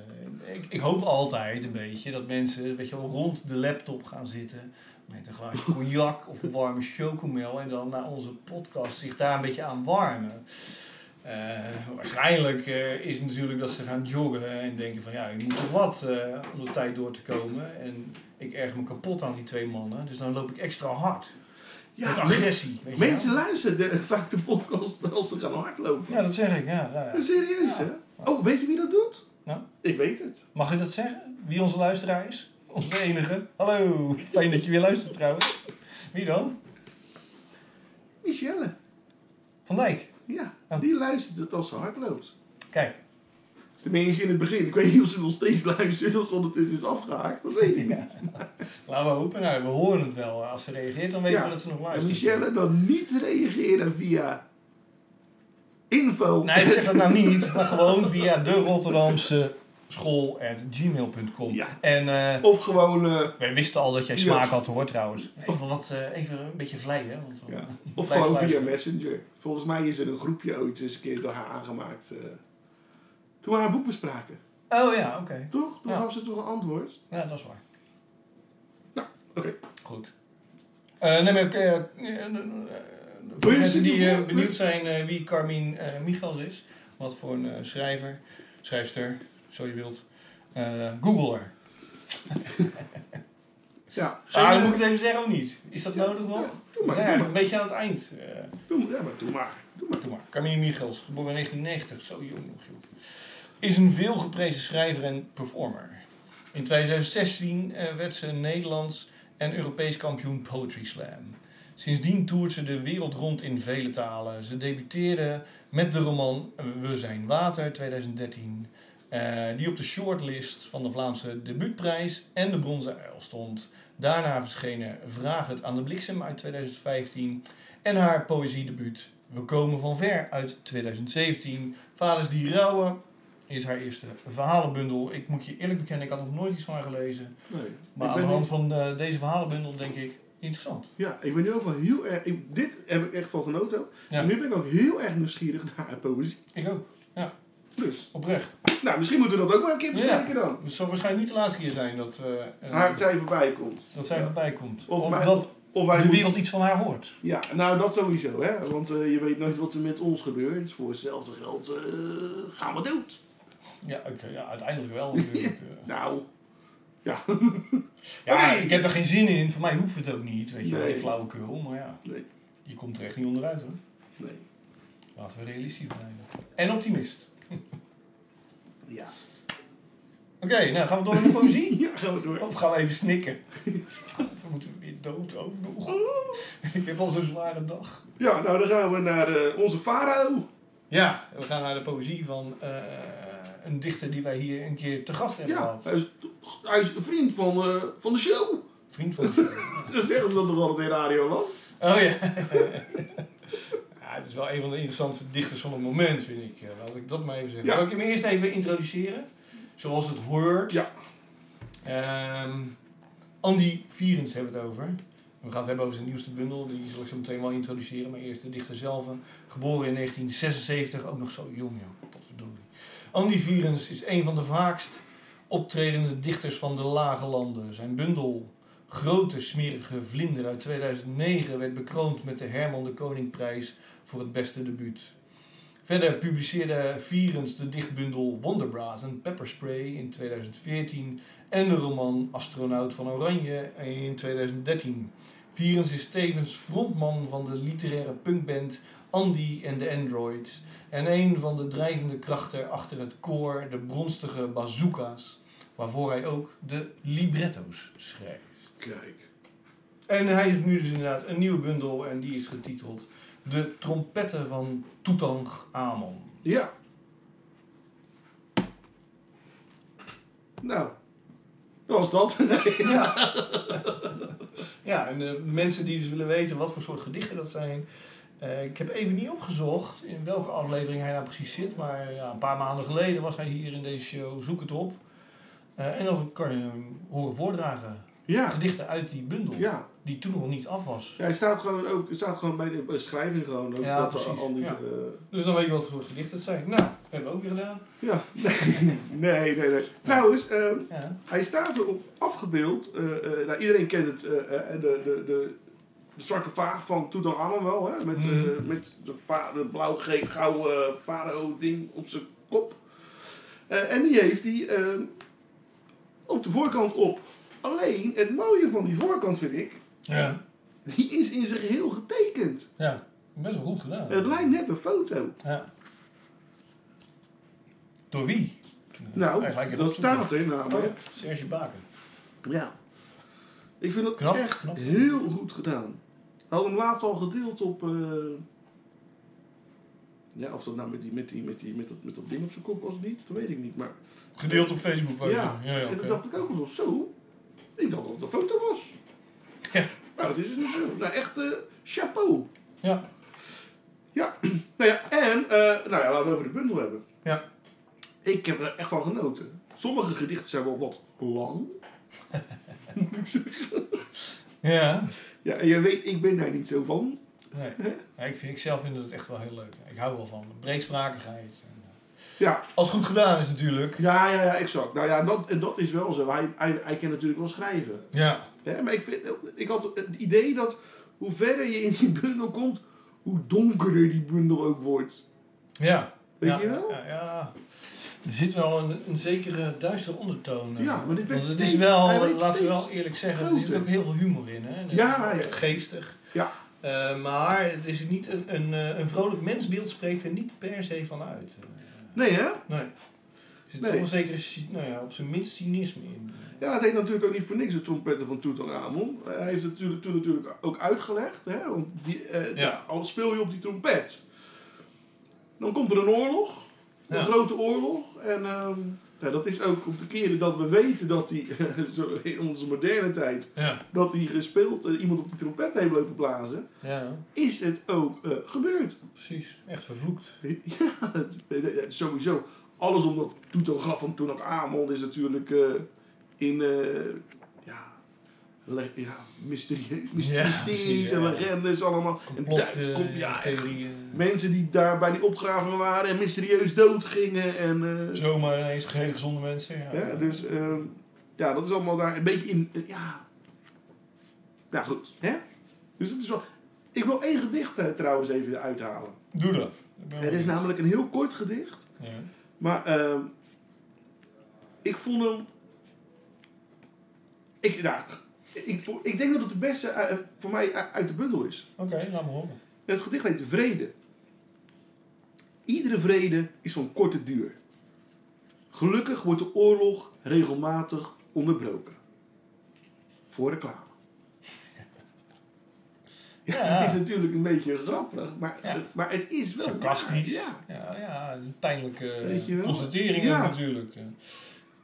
eh, Ik, ik hoop altijd een beetje dat mensen weet je wel, rond de laptop gaan zitten. Met een glaasje cognac of een warme chocomel. En dan naar onze podcast zich daar een beetje aan warmen. Eh, waarschijnlijk eh, is het natuurlijk dat ze gaan joggen en denken van ja, ik moet toch wat eh, om de tijd door te komen. En ik erg me kapot aan die twee mannen. Dus dan loop ik extra hard. met
men-
agressie. weet je wel.
mensen luisteren de- vaak de podcast als ze gaan hardlopen.
Ja, dat zeg ik. Ja, ja, ja.
Serieus,
Ja.
hè? Oh, weet je wie dat doet?
Nou?
Ik weet het.
Mag je dat zeggen? Wie onze luisteraar is? Onze enige. Hallo, fijn dat je weer luistert trouwens. Wie dan?
Michelle.
Van Dijk.
Ja,
Oh.
die luistert het als ze hardloopt.
Kijk,
Tenminste in het begin. Ik weet niet of ze nog steeds luistert of ze ondertussen is afgehaakt. Dat weet ik niet.
laten we hopen. Nou, we horen het wel. Als ze reageert, dan weten
Ja.
we dat ze nog
En
luistert.
Michelle dan niet reageren via info.
Nee, ik zeg dat nou niet. Maar gewoon via de Rotterdamse school.gmail.com.
Ja.
En eh,
Of gewoon... eh,
wij wisten al dat jij
Ja.
smaak had hoor trouwens. Even, wat, eh, even een beetje vleien. Want dan
ja. Of
blijft
gewoon via
luisteren.
Messenger. Volgens mij is er een groepje ooit eens een keer door haar aangemaakt. eh, toen we haar boek bespraken.
Oh ja, oké.
Toch? Toen
Ja.
gaf ze toch een antwoord?
Ja, dat is waar.
Nou, Oké.
Goed. Eh nee, maar ik, eh, eh, eh, eh, voor de
Mensen
mensen die
die
eh,
voor-
benieuwd zijn eh, wie Carmien eh, Michels is, wat voor een eh, schrijver, schrijfster, zo je wilt, eh, Google haar.
Ja.
Ah,
Geen,
dan moet
eh,
ik het even zeggen of niet? Is dat nodig nog?
ja,
We
doe maar, doe
zijn eigenlijk
maar.
een beetje aan het eind. eh,
Doe maar, ja, maar doe maar. Doe maar.
Doe maar. Camille Michels, geboren in 1990, zo jong nog joh. Is een veelgeprezen schrijver en performer. In 2016 eh, werd ze een Nederlands en Europees kampioen Poetry Slam. Sindsdien toert ze de wereld rond in vele talen. Ze debuteerde met de roman We zijn water 2013, eh, die op de shortlist van de Vlaamse debuutprijs en de Bronzen Uil stond. Daarna verschenen Vraag het aan de bliksem uit 2015 en haar poëziedebuut We komen van ver uit 2017. Vaders die rouwen is haar eerste verhalenbundel. Ik moet je eerlijk bekennen, ik had nog nooit iets van haar gelezen.
Nee.
Maar
ik
aan de
ben
hand
nu,
van eh, deze verhalenbundel denk ik, interessant.
ja, ik ben nu ook wel heel erg... ik- dit heb ik echt van genoten. ook.
Ja.
En nu ben ik ook heel erg nieuwsgierig naar haar poëzie.
Ik ook,
Dus,
oprecht.
nou, misschien moeten we dat ook maar een keer
Ja.
bespreken dan.
Het zal waarschijnlijk niet de laatste keer zijn dat, eh, eh,
Haar zij voorbij komt.
dat zij
Ja.
voorbij komt.
Of
Of,
mij-
dat
Of wij
de
moeten-
wereld iets van haar hoort.
Ja, nou dat sowieso, hè. Want eh, je weet nooit wat er met ons gebeurt. Voor hetzelfde geld eh, gaan we dood.
Ja, oké, ja uiteindelijk wel natuurlijk. eh.
Nou,
Ja,
Nee.
ik heb er geen zin in. Voor mij hoeft het ook niet, weet je wel.
Nee.
die Flauwekul, maar ja.
Nee.
Je komt er echt niet onderuit, hoor.
nee.
Laten we realistisch blijven. En optimist.
Ja.
Oké, nou gaan we door naar de poëzie?
Ja, gaan we door.
Of gaan we even snikken? God, Dan moeten we weer dood ook nog. Ik heb al zo'n zware dag.
Ja, nou dan gaan we naar eh, onze farao.
Ja, we gaan naar de poëzie van eh, een dichter die wij hier een keer te gast hebben
Ja,
gehad.
hij is, hij is een vriend van, eh, van de show.
Vriend van de show.
Zo zeggen ze dat toch altijd in Radioland?
Oh ja. ja. Het is wel een van de interessantste dichters van het moment, vind ik. Eh, Laat ik dat maar even zeggen.
Ja.
Zal ik hem eerst even introduceren? Zoals het hoort.
Ja.
Ehm, Andy Vierens hebben we het over. We gaan het hebben over zijn nieuwste bundel. Die zal ik zo meteen wel introduceren. Maar eerst de dichter zelf. Geboren in 1976. Ook nog zo jong, joh. Potverdorie. Andy Vierens is een van de vaakst optredende dichters van de lage landen. Zijn bundel Grote Smerige Vlinder uit 2009 werd bekroond met de Herman de Koningprijs voor het beste debuut. Verder publiceerde Vierens de dichtbundel Wonderbras en Pepperspray in 2014 en de roman Astronaut van Oranje in 2013. Vierens is tevens frontman van de literaire punkband Andy en de Androids en een van de drijvende krachten achter het koor De Bronstige Bazooka's, waarvoor hij ook de libretto's schreef.
Kijk.
En hij heeft nu dus inderdaad een nieuwe bundel en die is getiteld De trompetten van Toetanchamon.
Ja. Nou, dat was dat.
Ja. ja, en de mensen die dus willen weten wat voor soort gedichten dat zijn. eh, ik heb even niet opgezocht in welke aflevering hij nou precies zit. Maar ja, een paar maanden geleden was hij hier in deze show. Zoek het op. Eh, en dan kan je hem horen voordragen.
ja,
Gedichten uit die bundel.
ja.
Die toen nog niet af was.
Ja, hij staat gewoon, ook, hij staat gewoon bij de beschrijving gewoon. Ook
Ja,
dat de
precies,
ander,
ja.
eh,
Dus dan weet je wat voor soort gedichten het zijn. Nou, hebben we ook weer gedaan.
ja. nee, nee, nee. Trouwens, ehm,
Ja.
hij staat erop afgebeeld. eh, eh, nou, iedereen kent het, eh, eh, de, de, de, de sarcofaag van Tutankhamun wel. Hè? Met, eh,
Mhm.
met de, va- de blauw-gouden farao-ding op zijn kop. Eh, en die heeft hij ehm, op de voorkant op. Alleen, het mooie van die voorkant vind ik,
Ja.
die is in zijn geheel getekend.
Ja, best wel goed gedaan.
Het lijkt net een foto.
Ja. Door wie?
Nou,
Eigenlijk
dat
opzoeken.
staat er
Oh ja,
namelijk.
Serge Baken.
Ja. Ik vind dat
Knap,
echt
knap.
heel goed gedaan. Had hem laatst al gedeeld op... eh, Ja, of dat nou met, die, met, die, met, die, met, dat, met dat ding op zijn kop was of niet, dat weet ik niet. Maar
Gedeeld op Facebook. wou je
ja,
zeggen. ja, ja
en
oké.
toen dacht ik ook wel zo, zo. Ik dacht dat het een foto was.
Ja.
Maar dat is dus niet zo. Nou, echt eh, chapeau.
Ja.
Ja, nou ja, en eh, nou ja, laten we over de bundel hebben.
Ja.
Ik heb er echt van genoten. Sommige gedichten zijn wel wat lang.
ja.
Ja, en je weet, ik ben daar niet zo van.
Nee. Ja, ik, vind, ik zelf vind het echt wel heel leuk. Ik hou wel van breedsprakigheid. En, eh,
Ja,
Als het goed gedaan is natuurlijk.
ja, ja, ja exact. Nou ja, dat, en dat is wel zo. Hij, hij, hij kan natuurlijk wel schrijven.
Ja.
Hè? Maar ik, vind, ik had het idee dat hoe verder je in die bundel komt, hoe donkerder die bundel ook wordt.
Ja.
Weet
ja,
je wel?
Ja, ja. Er zit wel een, een zekere duistere ondertoon. eh.
Ja, maar dit werd
Want het
steeds-
is wel,
hij werd
laten we
steeds
wel eerlijk zeggen, er
groter.
zit ook heel veel humor in. Hè? En het
Ja,
is
ja.
echt geestig.
Ja.
Eh, maar het is niet een, een, eh, een vrolijk mensbeeld spreekt er niet per se van uit. Eh,
Nee, hè?
nee. Er zit
Nee.
toch een zekere, cy- nou ja, op zijn minst cynisme in.
Ja, het heet natuurlijk ook niet voor niks de trompetten van Tutankhamon. Hij heeft het natuurlijk, toen natuurlijk ook uitgelegd, hè, want die, eh,
Ja.
ja, al speel je op die trompet. Dan komt er een oorlog, een
Ja.
grote oorlog. En ehm, ja, dat is ook op de keren dat we weten dat die, zo in onze moderne tijd,
Ja.
dat die gespeeld, eh, iemand op die trompet heeft lopen blazen,
ja,
is het ook eh, gebeurd.
precies. Echt vervloekt.
ja, het- het- het- sowieso. Alles om dat toetelgraf van toen ook Amon is natuurlijk eh, in eh, ja, le- ja, mysterie, mysterie-
Ja,
mysteries
precies,
en
ja.
legendes allemaal. En
Complot,
daar kom-
eh,
ja, echt.
theorieën.
mensen die daar bij die opgravingen waren en mysterieus doodgingen. En, eh,
Zomaar ineens hele gezonde mensen. Ja,
hè, dus ehm, ja, dat is allemaal daar een beetje in. eh, ja. Nou goed, hè? Dus het is wel. Ik wil één gedicht eh, trouwens even uithalen.
Doe dat. Ik ben
Het is nou-
wel-
namelijk een heel kort gedicht.
Ja.
Maar ehm, ik vond hem. Ik, nou, ik, vo- ik denk dat het de beste eh, voor mij u- uit de bundel is.
Oké, laat me horen.
En het gedicht heet Vrede. Iedere vrede is van korte duur. Gelukkig wordt de oorlog regelmatig onderbroken. Voor reclame. Ja, het is natuurlijk een beetje grappig, maar,
Ja.
maar het is wel. waar,
Sarcastisch.
Ja.
Ja, ja, een pijnlijke
Weet je wel?
constateringen
Ja.
natuurlijk. Eh,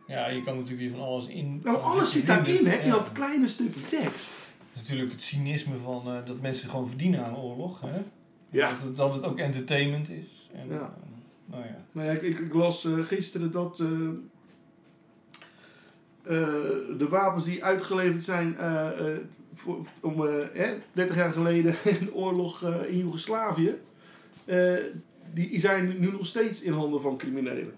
Ja, je kan natuurlijk weer van alles in.
Nou, alles zit daarin, hè, in dat kleine stukje tekst.
Het is natuurlijk het cynisme van eh, dat mensen gewoon verdienen aan oorlog. Hè?
Ja.
Dat, het, dat het ook entertainment is. En,
Ja.
eh, nou ja.
Nou ja, ik, ik, ik las eh, gisteren dat eh, eh, de wapens die uitgeleverd zijn eh, eh, voor- om eh, hè, 30 jaar geleden in de oorlog eh, in Joegoslavië, eh, die zijn nu nog steeds in handen van criminelen.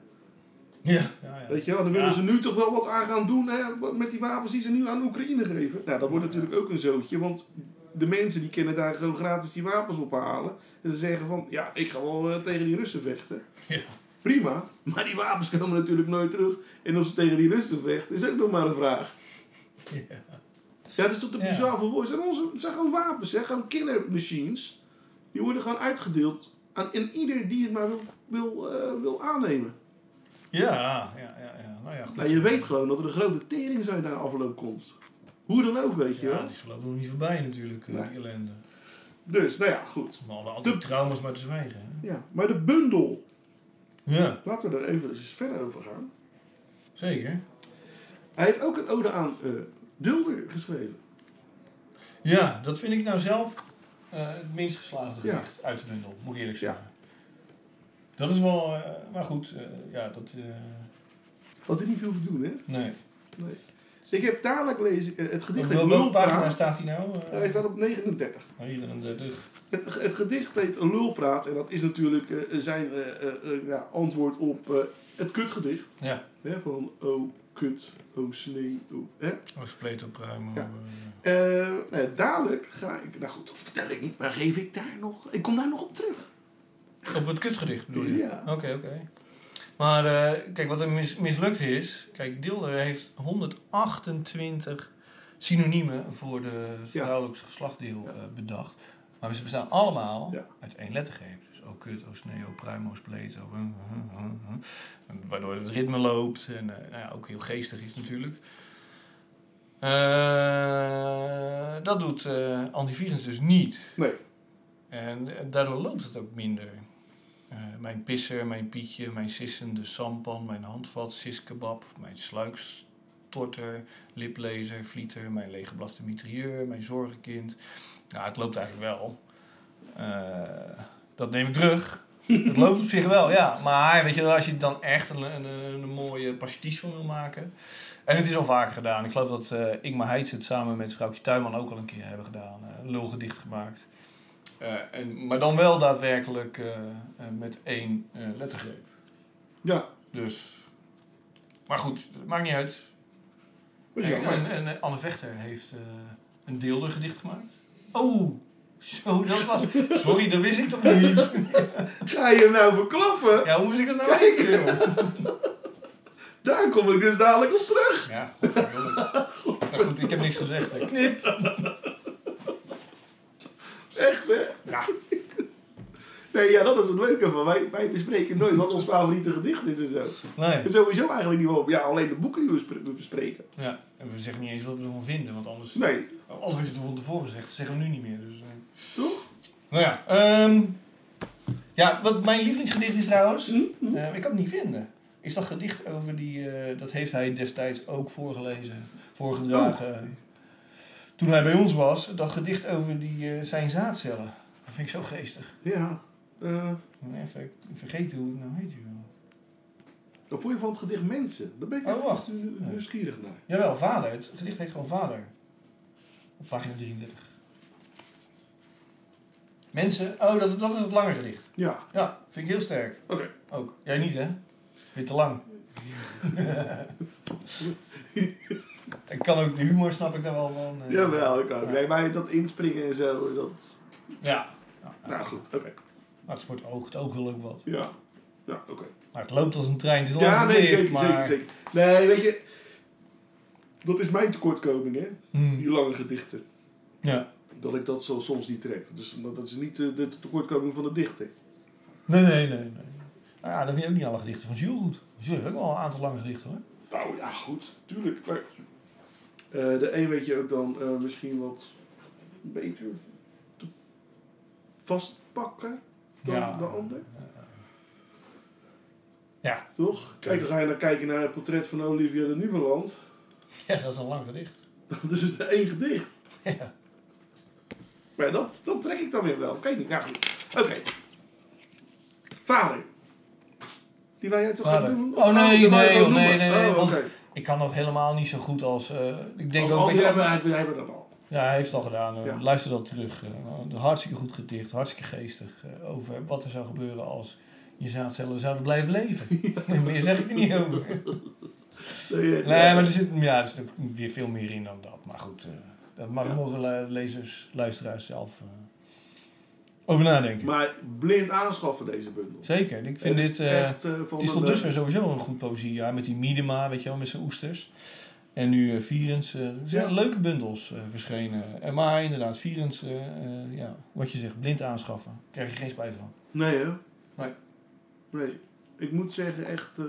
Ja, ja, ja.
Weet je wel, dan willen
Ja.
ze nu toch wel wat aan gaan doen hè, wat- met die wapens die ze nu aan Oekraïne geven. Nou, dat wordt natuurlijk ook een zootje, want de mensen die kunnen daar gewoon gratis die wapens ophalen. En ze zeggen van, ja, ik ga wel eh, tegen die Russen vechten.
Ja.
Prima, maar die wapens komen natuurlijk nooit terug. En of ze tegen die Russen vechten, is ook nog maar een vraag.
Ja.
Ja, dat is toch te
Ja.
bizar voor woorden. Het zijn onze- Het zijn gewoon wapens, hè, gewoon kindermachines. Die worden gewoon uitgedeeld aan en ieder die het maar wil, wil, eh, wil aannemen.
Ja, ja, ja, ja. Nou ja, goed.
Nou, je weet gewoon dat er een grote tering zo naar de afloop komt. Hoe dan ook, weet je
Ja,
wel.
die is voorlopig nog niet voorbij natuurlijk, eh,
Nee.
die ellende.
Dus, nou ja, goed.
Maar al die trauma's maar te zwijgen. Hè?
Ja, maar de bundel.
Ja,
Laten we daar even eens verder over gaan.
zeker.
Hij heeft ook een ode aan eh, Dilder geschreven.
Ja, dat vind ik nou zelf eh, het minst geslaagde
Ja.
gedicht uit de bundel, moet ik eerlijk
Ja.
zeggen. Dat is wel, eh, maar goed, eh, ja, dat, eh,
Wat hij niet hoeven doen, hè?
nee.
Nee. Ik heb dadelijk lezen, eh, het gedicht
Op
heet
wel- welke pagina
Lulpraat.
staat hij nou? Eh,
Hij staat op 39.
hier aan de deur.
Het, het gedicht heet Lulpraat en dat is natuurlijk eh, zijn eh, eh, eh, ja, antwoord op eh, het kutgedicht.
Ja.
Hè, van, oh kut, oh sneeuw, oh, hè?
Oh, spleet opruimen.
Ja.
eh,
Eh, nou ja, dadelijk ga ik. Nou goed, dat vertel ik niet, maar geef ik daar nog. Ik kom daar nog op terug.
eh, Op het kutgedicht bedoel je?
Ja.
Oké, oké. Maar eh, kijk, wat er mis- mislukt is... Kijk, Dilder heeft 128 synoniemen voor de het
Ja.
vrouwelijkse geslachtdeel eh, bedacht. Maar ze bestaan allemaal
Ja.
uit één lettergreep. Dus o kut, o sneeuw, pruim, o spleet, o... huh, huh, huh, huh. Waardoor het ritme loopt en eh, nou ja, ook heel geestig is natuurlijk. Eh, dat doet eh antivirus dus niet.
Nee.
En eh, daardoor loopt het ook minder. Eh, mijn pisser, mijn pietje, mijn sissende sampan, mijn handvat, siskebab, mijn sluikstorter, liplezer, vlieter, mijn leeggeblaste mitrieur, mijn zorgenkind. Nou, het loopt eigenlijk wel. Eh, dat neem ik terug. Het loopt op zich wel, ja. Maar weet je, wel, als je dan echt een, een, een, een mooie pastiche van wil maken. En het is al vaker gedaan. Ik geloof dat eh Ingmar Heitz het samen met vrouwtje Tuinman ook al een keer hebben gedaan. Eh, Een lulgedicht gemaakt. Eh, en, maar dan wel daadwerkelijk eh, eh, met één eh, lettergreep.
Ja,
Dus. Maar goed, dat maakt niet uit.
dat is
En,
jammer.
en, en, eh, Anne Vechter heeft eh, een deelder gedicht gemaakt. Oh, zo dat was. Sorry, dat wist ik toch niet.
Ga je hem nou verklappen?
Ja, hoe moest ik dat nou weten? joh?
Daar kom ik dus dadelijk op terug.
Ja, goed. Maar goed, ik heb niks gezegd. hè. Knip.
Echt, hè?
Ja.
Nee, ja, dat is het leuke van. Wij, wij bespreken nooit wat ons favoriete gedicht is en zo.
Nee.
En sowieso eigenlijk niet wel. Ja, alleen de boeken die we spre- we bespreken.
Ja, en we zeggen niet eens wat we ervan vinden, want anders...
Nee,
Als we het van tevoren gezegd, dat zeggen we nu niet meer. Dus, eh.
toch?
Nou ja, ehm, ja, wat mijn lievelingsgedicht is trouwens,
Hm? Hm?
eh, ik kan het niet vinden. Is dat gedicht over die, eh, dat heeft hij destijds ook voorgelezen, voorgedragen. Toen hij bij ons was, dat gedicht over die, eh, zijn zaadcellen. Dat vind ik zo geestig.
Ja. eh,
Ik ben Even vergeten hoe het nou heet. joh.
dan voel je van het gedicht Mensen. Daar ben ik
Oh,
even
wacht.
nieuws- nieuwsgierig naar.
Jawel, vader. Het gedicht heet gewoon vader. Op pagina 33. Mensen, oh, dat, dat is het lange gedicht.
Ja,
Ja, vind ik heel sterk.
oké.
Ook. Jij niet, hè? Weer te lang. ik kan ook de humor, snap ik daar wel van. eh.
Jawel, ik ook.
Ja.
Nee, maar dat inspringen en zo. Dat...
Ja. ja.
Nou goed, oké.
Maar het is voor het oog. Het oog wil ook wat.
Ja. Ja, oké.
Maar het loopt als een trein. Het is
Ja,
lang
nee,
gedicht,
zeker,
maar...
zeker, zeker. Nee, weet je... Dat is mijn tekortkoming, hè?
Hmm.
Die lange gedichten.
Ja.
Dat ik dat zo soms niet trek. Dat is, dat is niet eh, de tekortkoming van de dichter.
Nee, nee, nee. nee. Nou ja, dan vind je ook niet alle gedichten van Jules goed. Jules heeft ook wel een aantal lange gedichten, hoor.
Nou ja, goed, tuurlijk. Maar eh, de een weet je ook dan eh, misschien wat beter te vastpakken dan
Ja.
de ander.
Ja.
Toch? Kijk, dan ga je dan kijken naar het portret van Olivia de Nieuweland.
Ja, dat is een lang gedicht.
Dat is het één gedicht.
Ja.
Maar dat, dat trek ik dan weer wel. Kijk niet. Nou goed. Oké. Vader. Die wij jij toch
Vader.
gaan doen?
Oh, nee,
die wou je
nee,
gewoon
joh, nee,
noemen.
nee, nee,
Oh,
want-
oké.
Ik kan dat helemaal niet zo goed als... eh, ik denk
Als
ook...
anderen hebben, hebben, hebben dat al.
Ja, hij heeft het al gedaan. hoor.
Ja.
Luister dat terug. Eh, een hartstikke goed gedicht, hartstikke geestig. eh, over wat er zou gebeuren als je zaadcellen zouden blijven leven. meer zeg ik er niet over.
Nee,
Nee, maar er zit, ja, er zit ook weer veel meer in dan dat. Maar goed, eh, dat mag, mogen lu- lezers, luisteraars zelf eh, over nadenken.
Maar blind aanschaffen deze bundel.
Zeker, ik vind
Het is
dit... eh,
echt, eh, van
het is tot
een, eh,
dusver sowieso een goed poëziejaar. Met die Miedema, weet je wel, met zijn oesters. En nu eh, Vierens. eh, er zijn
Ja.
leuke bundels eh, verschenen. En maar inderdaad, Vierens, eh, eh, ja, wat je zegt, blind aanschaffen. Daar krijg je geen spijt van.
Nee, hè?
Nee.
Nee. Ik moet zeggen, echt... eh,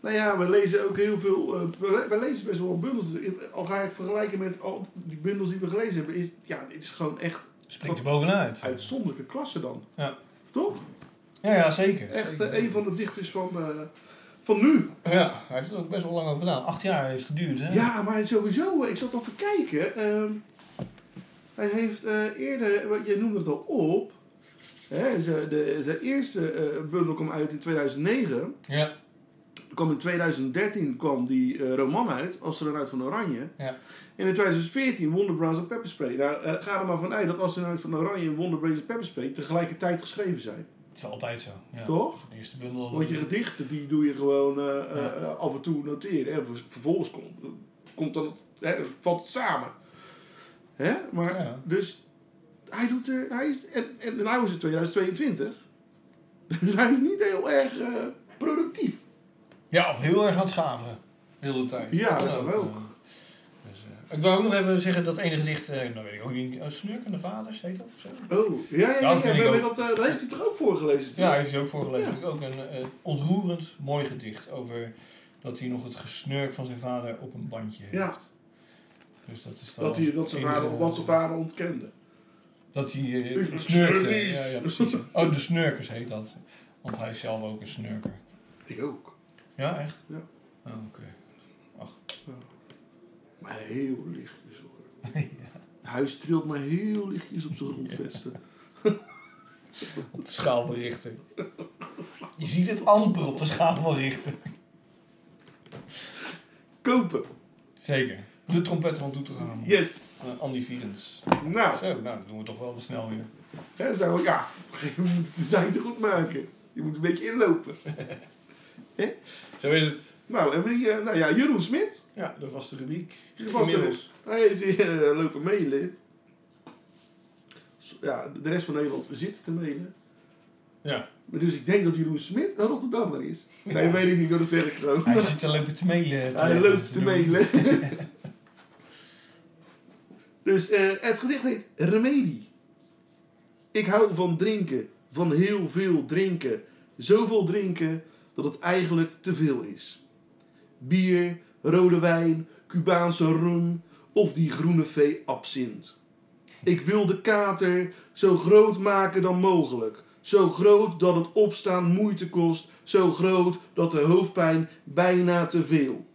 Nou ja, we lezen ook heel veel... eh, we, we lezen best wel bundels. Al ga ik vergelijken met al die bundels die we gelezen hebben. Is, ja, dit is gewoon echt
Springt er bovenuit.
uitzonderlijke klasse dan.
Ja.
Toch?
Ja, ja, zeker.
Echt
Zeker.
eh, een van de dichters van, eh, van nu.
Ja, hij heeft er ook best wel lang over gedaan. Acht jaar heeft het geduurd, hè?
Ja, maar sowieso, eh, ik zat al te kijken. ehm, hij heeft eh, eerder, wat je noemde het al op. Hè, zijn, de, zijn eerste eh, bundel kwam uit in 2009.
Ja.
Er kwam in 2013 kwam die eh, roman uit, Als er een uit van Oranje.
Ja.
En in 2014 Wonder Bras en Pepperspray. Nou, eh, ga er maar van uit dat Als er een uit van Oranje en Wonder Bras en Pepperspray tegelijkertijd geschreven zijn.
Het is altijd zo. Ja.
Toch?
Eerste bundel.
Want je gedichten die doe je gewoon eh, eh,
Ja.
eh, af en toe noteren. En ver- vervolgens komt, komt dan het, hè, valt het samen. Hè? Maar
Ja.
dus hij doet er. Hij is, en, en nou is het 2022. Dus hij is niet heel erg eh, productief.
Ja, of heel erg aan het schaven. Heel de hele tijd.
Ja, dat kan ook.
eh. Dus, eh, ik wou ook nog even zeggen dat ene gedicht, eh nou weet ik ook niet, eh, Snurkende Vaders heet dat of zo?
Oh, ja, ja, ja.
Ja, dat
ja,
vind ik
maar
ook.
dat, eh, dat heeft hij toch ook voorgelezen? toen?
Ja, heeft hij ook voorgelezen.
Ja.
Ook een, eh, ontroerend mooi gedicht over dat hij nog het gesnurk van zijn vader op een bandje heeft.
Ja.
Dus dat is dan
dat, hij, dat zijn vader,
enige-
wat zijn vader ontkende.
Dat hij eh,
Ik
snurkte.
snurk niet.
Ja, ja, precies. Oh, de snurkers heet dat. Want hij is zelf ook een snurker.
Ik ook.
Ja, echt?
Ja.
Oh, oké.
Maar heel lichtjes hoor. Het Huis trilt maar heel lichtjes op zijn grondvesten.
Op de schaal van Richter. Je ziet het amper op de schaal van Richter.
Kopen.
Zeker. De trompet van toe te gaan.
Yes.
Andy Vierens.
Nou,
Zo, nou, dat doen we toch wel wat snel weer.
hè, dan zijn we, ja, je moet het design te goed maken. Je moet een beetje inlopen.
Zo is het.
Nou, en wie, eh, nou ja, Jeroen Smit.
Ja, de vaste rubriek.
Die was er
Inmiddels.
dus. Hij heeft weer eh, lopen mailen. Zo- Ja, de rest van Nederland zit te mailen.
Ja.
Maar dus ik denk dat Jeroen Smit een Rotterdammer is. Nee, weet ik niet, hoor, dat zeg ik zo.
Hij zit te lopen te mailen. eh, te
Hij
leggen.
loopt te
Doe.
mailen. dus eh, het gedicht heet Remedie. Ik hou van drinken, van heel veel drinken. Zoveel drinken dat het eigenlijk te veel is. Bier, rode wijn, Cubaanse rum of die groene vee absint. Ik wil de kater zo groot maken dan mogelijk. Zo groot dat het opstaan moeite kost. Zo groot dat de hoofdpijn bijna te veel.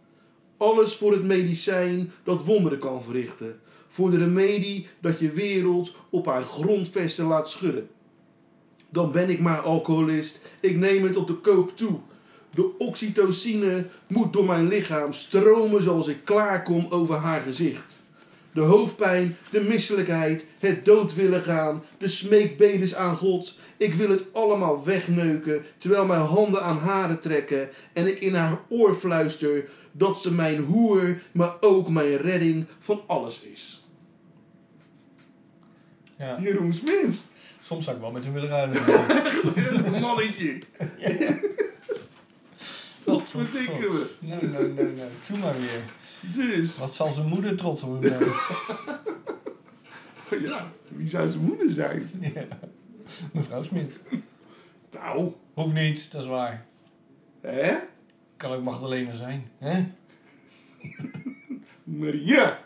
Alles voor het medicijn dat wonderen kan verrichten. Voor de remedie dat je wereld op haar grondvesten laat schudden. Dan ben ik maar alcoholist. Ik neem het op de koop toe. De oxytocine moet door mijn lichaam stromen zoals ik klaarkom over haar gezicht. De hoofdpijn, de misselijkheid, het dood willen gaan, de smeekbedes aan God. Ik wil het allemaal wegneuken, terwijl mijn handen aan haren trekken en ik in haar oor fluister dat ze mijn hoer, maar ook mijn redding van alles is.
Ja.
Jeroen Smits,
Soms zou ik wel met hem willen ruilen.
mannetje. Wat verdikken we.
Nee, nee, nee, nee. Doe maar weer.
Dus,
Wat zal zijn moeder trots op hem zijn?
ja, wie zou zijn moeder zijn?
Mevrouw Smit.
Nou,
Hoeft niet, dat is waar.
hè?
Kan ook Magdalena zijn. Hè?
Maria.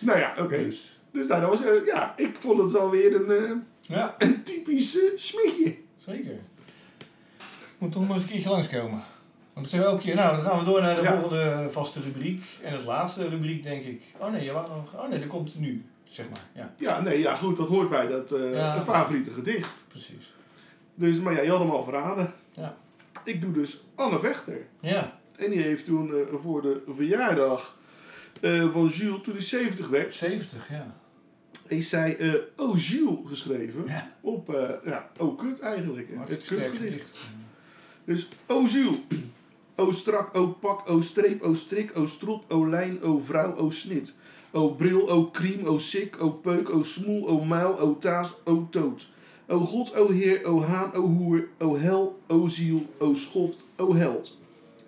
Nou ja, oké.
Dus.
Dus daar was, eh, ja, ik vond het wel weer een, eh,
Ja,
een typisch eh, smitje.
zeker. Moet toch maar eens een keertje langskomen. Want ik zeg elke keer, nou dan gaan we door naar de
Ja.
volgende vaste rubriek. En het laatste rubriek denk ik. Oh nee, je wou nog. Oh nee, dat komt nu. Zeg maar. Ja,
Ja, nee, ja, goed, dat hoort bij dat eh,
Ja.
een favoriete gedicht.
precies.
Dus, maar ja, je had hem al verraden.
Ja.
Ik doe dus Anne Vechter.
Ja,
En die heeft toen eh, voor de verjaardag eh, van Jules, toen hij 70 werd,
70, ja.
heeft zij eh Oh Jules geschreven.
Ja.
Op, eh ja, Oh Kut eigenlijk. hè. Het
Hartstikke sterk
kutgedicht.
gedicht.
Dus o ziel, o strak, o pak, o streep, o strik, o strop, o lijn, o vrouw, o snit. O bril, o kriem, o sik, o peuk, o smoel, o muil, o taas, o toot. O God, o Heer, o haan, o hoer, o hel, o ziel, o schoft, o held.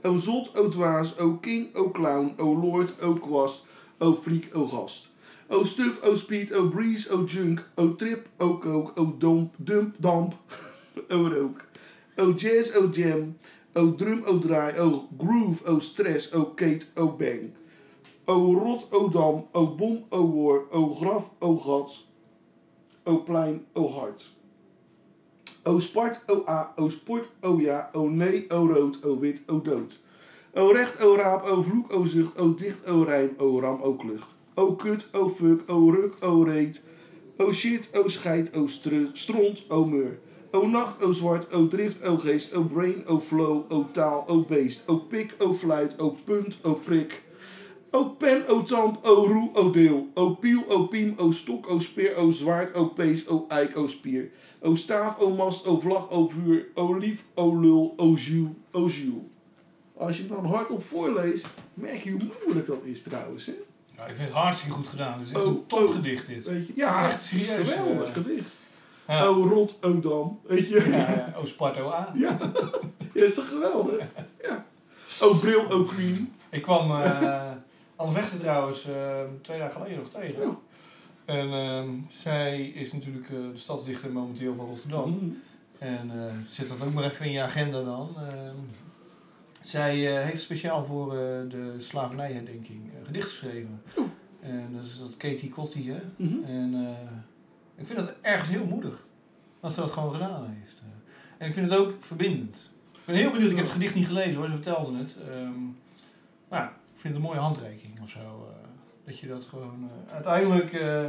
O zot, o dwaas, o king, o clown, o lord, o kwast, o freak, o gast. O stuf, o speed, o breeze, o junk, o trip, o kook, o domp, dump, damp, o rook. O jazz, o jam, o drum, o draai, o groove, o stress, o kate, o bang. O rot, o dam, o bom, o war, o graf, o gat, o plein, o hart. O spart, o a, o sport, o ja, o nee, o rood, o wit, o dood. O recht, o raap, o vloek, o zucht, o dicht, o rijm, o ram, o klucht. O kut, o fuck, o ruk, o reet. O shit, o scheid, o stru- stront, o meur. O nacht, o zwart, o drift, o geest, o brain, o flow, o taal, o beest. O pik, o fluit, o punt, o prik. O pen, o tamp, o roe, o deel. O piel, o piem, o stok, o speer, o zwaard, o pees, o eik, o spier. O staaf, o mast, o vlag, o vuur. O lief, o lul, o ziel, o ziel. Als je hem dan hardop voorleest, merk je hoe moeilijk dat is trouwens. Hè?
Nou, ik vind het hartstikke goed gedaan. Het is echt
Oh,
een topgedicht dit.
Weet je? Ja,
Echt
het is
serieus,
geweldig
eh.
gedicht.
Ja.
O rot, o dam. Weet je?
Ja, ja. Oh, Sparto A.
Ja, Ja, is toch geweldig? Ja. O bril, o cream.
Ik kwam eh Anne Vechter trouwens eh, twee dagen geleden nog tegen.
Ja.
En ehm, zij is natuurlijk eh, de stadsdichter momenteel van Rotterdam. En eh, zet dat ook maar even in je agenda dan. Ehm, zij eh, heeft speciaal voor eh, de slavernijherdenking eh, gedicht geschreven. En dat is dat Katie Cotty, hè.
Mhm.
En eh, ik vind dat ergens heel moedig. Dat ze dat gewoon gedaan heeft. Eh, En ik vind het ook verbindend. Ik ben heel benieuwd. Ik heb het gedicht niet gelezen hoor, ze vertelden het. Ehm, maar ja, ik vind het een mooie handreiking of zo. eh, dat je dat gewoon... eh, uiteindelijk, eh,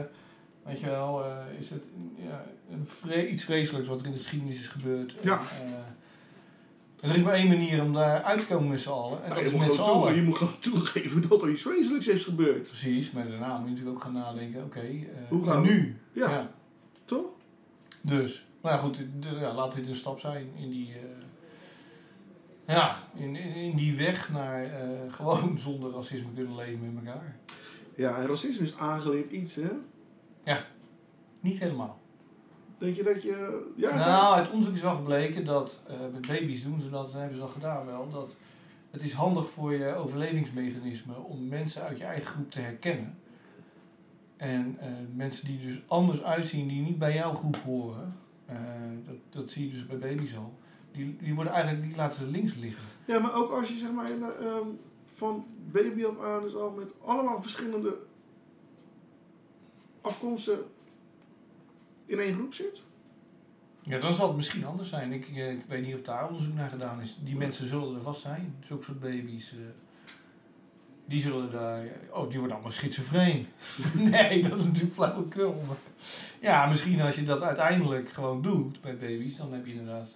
weet je wel, eh, is het ja, een vre- iets vreselijks wat er in de geschiedenis is gebeurd.
Ja.
En, eh, en er is maar één manier om daar uit te komen met z'n allen. En
Nou,
dat
je,
is
moet
met z'n
gewoon toege-
allen.
je moet gewoon toegeven dat er iets vreselijks is gebeurd.
Precies, maar daarna moet je natuurlijk ook gaan nadenken. Oké, eh,
Hoe gaan
en
we?
nu?
Ja, toch?
Dus, nou ja, goed, d- ja, laat dit een stap zijn in die, eh, ja, in, in, in die weg naar eh, gewoon zonder racisme kunnen leven met elkaar.
Ja, en racisme is aangeleerd iets, hè?
Niet helemaal.
Denk je dat je... Ja, zo-
nou, uit onderzoek is wel gebleken dat eh, met baby's doen ze dat, en hebben ze dat gedaan wel, dat het is handig voor je overlevingsmechanisme om mensen uit je eigen groep te herkennen. En eh, mensen die dus anders uitzien, die niet bij jouw groep horen, Eh, dat, dat zie je dus bij baby's al. Die, die worden eigenlijk, die laten ze links liggen.
Ja, maar ook als je zeg maar hele, ehm, van baby af aan is al met allemaal verschillende afkomsten in één groep zit.
Ja, dan zal het misschien anders zijn. Ik, eh, ik weet niet of daar onderzoek naar gedaan is. Die mensen zullen er vast zijn, zulke soort baby's. eh. die zullen daar... eh, Of die worden allemaal schizofreen. nee, dat is natuurlijk flauwekul. Maar ja, misschien als je dat uiteindelijk gewoon doet bij baby's, dan heb je inderdaad...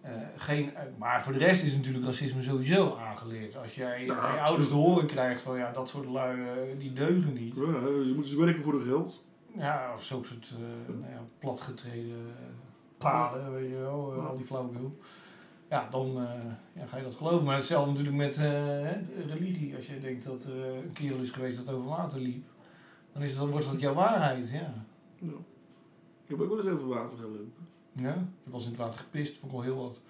eh, eh, geen, maar voor de rest is natuurlijk racisme sowieso aangeleerd. Als jij
Nou,
van je ouders te horen krijgt van ja, dat soort lui eh, die deugen niet.
Ja, ze moeten ze dus werken voor hun geld.
Ja, of zo'n soort eh, nou ja, platgetreden eh, paden, weet je wel, eh, al die flauwekul. Ja, dan eh, ja, ga je dat geloven. Maar hetzelfde natuurlijk met eh, hè, de religie. Als je denkt dat er eh, een kerel is geweest dat over water liep, dan is dat, wordt dat jouw waarheid, ja.
Nou, ik heb ook wel eens even water gelopen.
Ja, ik was in het water gepist, vond ik al heel wat.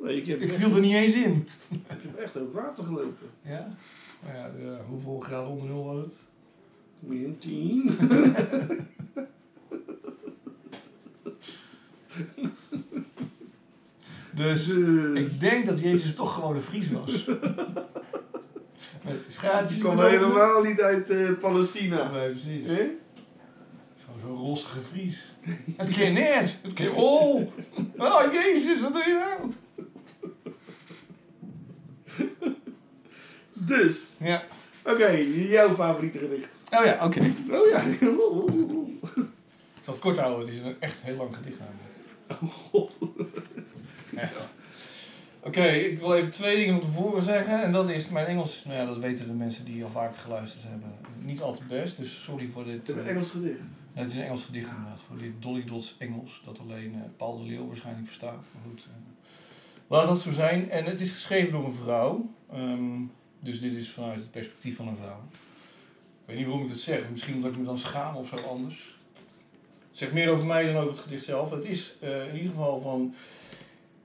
Nee, ik heb,
Ik
echt,
viel er niet eens in.
ik heb echt over water gelopen.
Ja? Maar ja, ja, hoeveel graden onder nul was het?
Min 10.
Dus
Dus,
ik denk dat Jezus toch gewoon een Fries was. Met schaartjes
die kwam
eronder.
helemaal niet uit eh, Palestina.
Nee, precies.
Hè?
Zo'n zo rossige Fries. Het kan net. Het kan... Oh! Oh, jezus, wat doe je nou?
Dus,
Ja.
oké, jouw favoriete gedicht.
Oh ja, oké.
Oh ja,
Ik zal het kort houden, het is een echt heel lang gedicht namelijk. Oh,
god.
Oké, ik wil even twee dingen van tevoren zeggen. En dat is, mijn Engels, nou ja, dat weten de mensen die al vaker geluisterd hebben, niet al te best. Dus sorry voor dit.
Het is
eh,
een Engels gedicht.
Ja, het is een Engels gedicht inderdaad, voor dit Dolly Dots Engels, dat alleen eh, Paul de Leeuw waarschijnlijk verstaat. Maar goed, eh, laat dat zo zijn. En het is geschreven door een vrouw, ehm, dus dit is vanuit het perspectief van een vrouw. Ik weet niet waarom ik dat zeg, misschien omdat ik me dan schaam of zo anders. Het zegt meer over mij dan over het gedicht zelf. Het is eh, in ieder geval van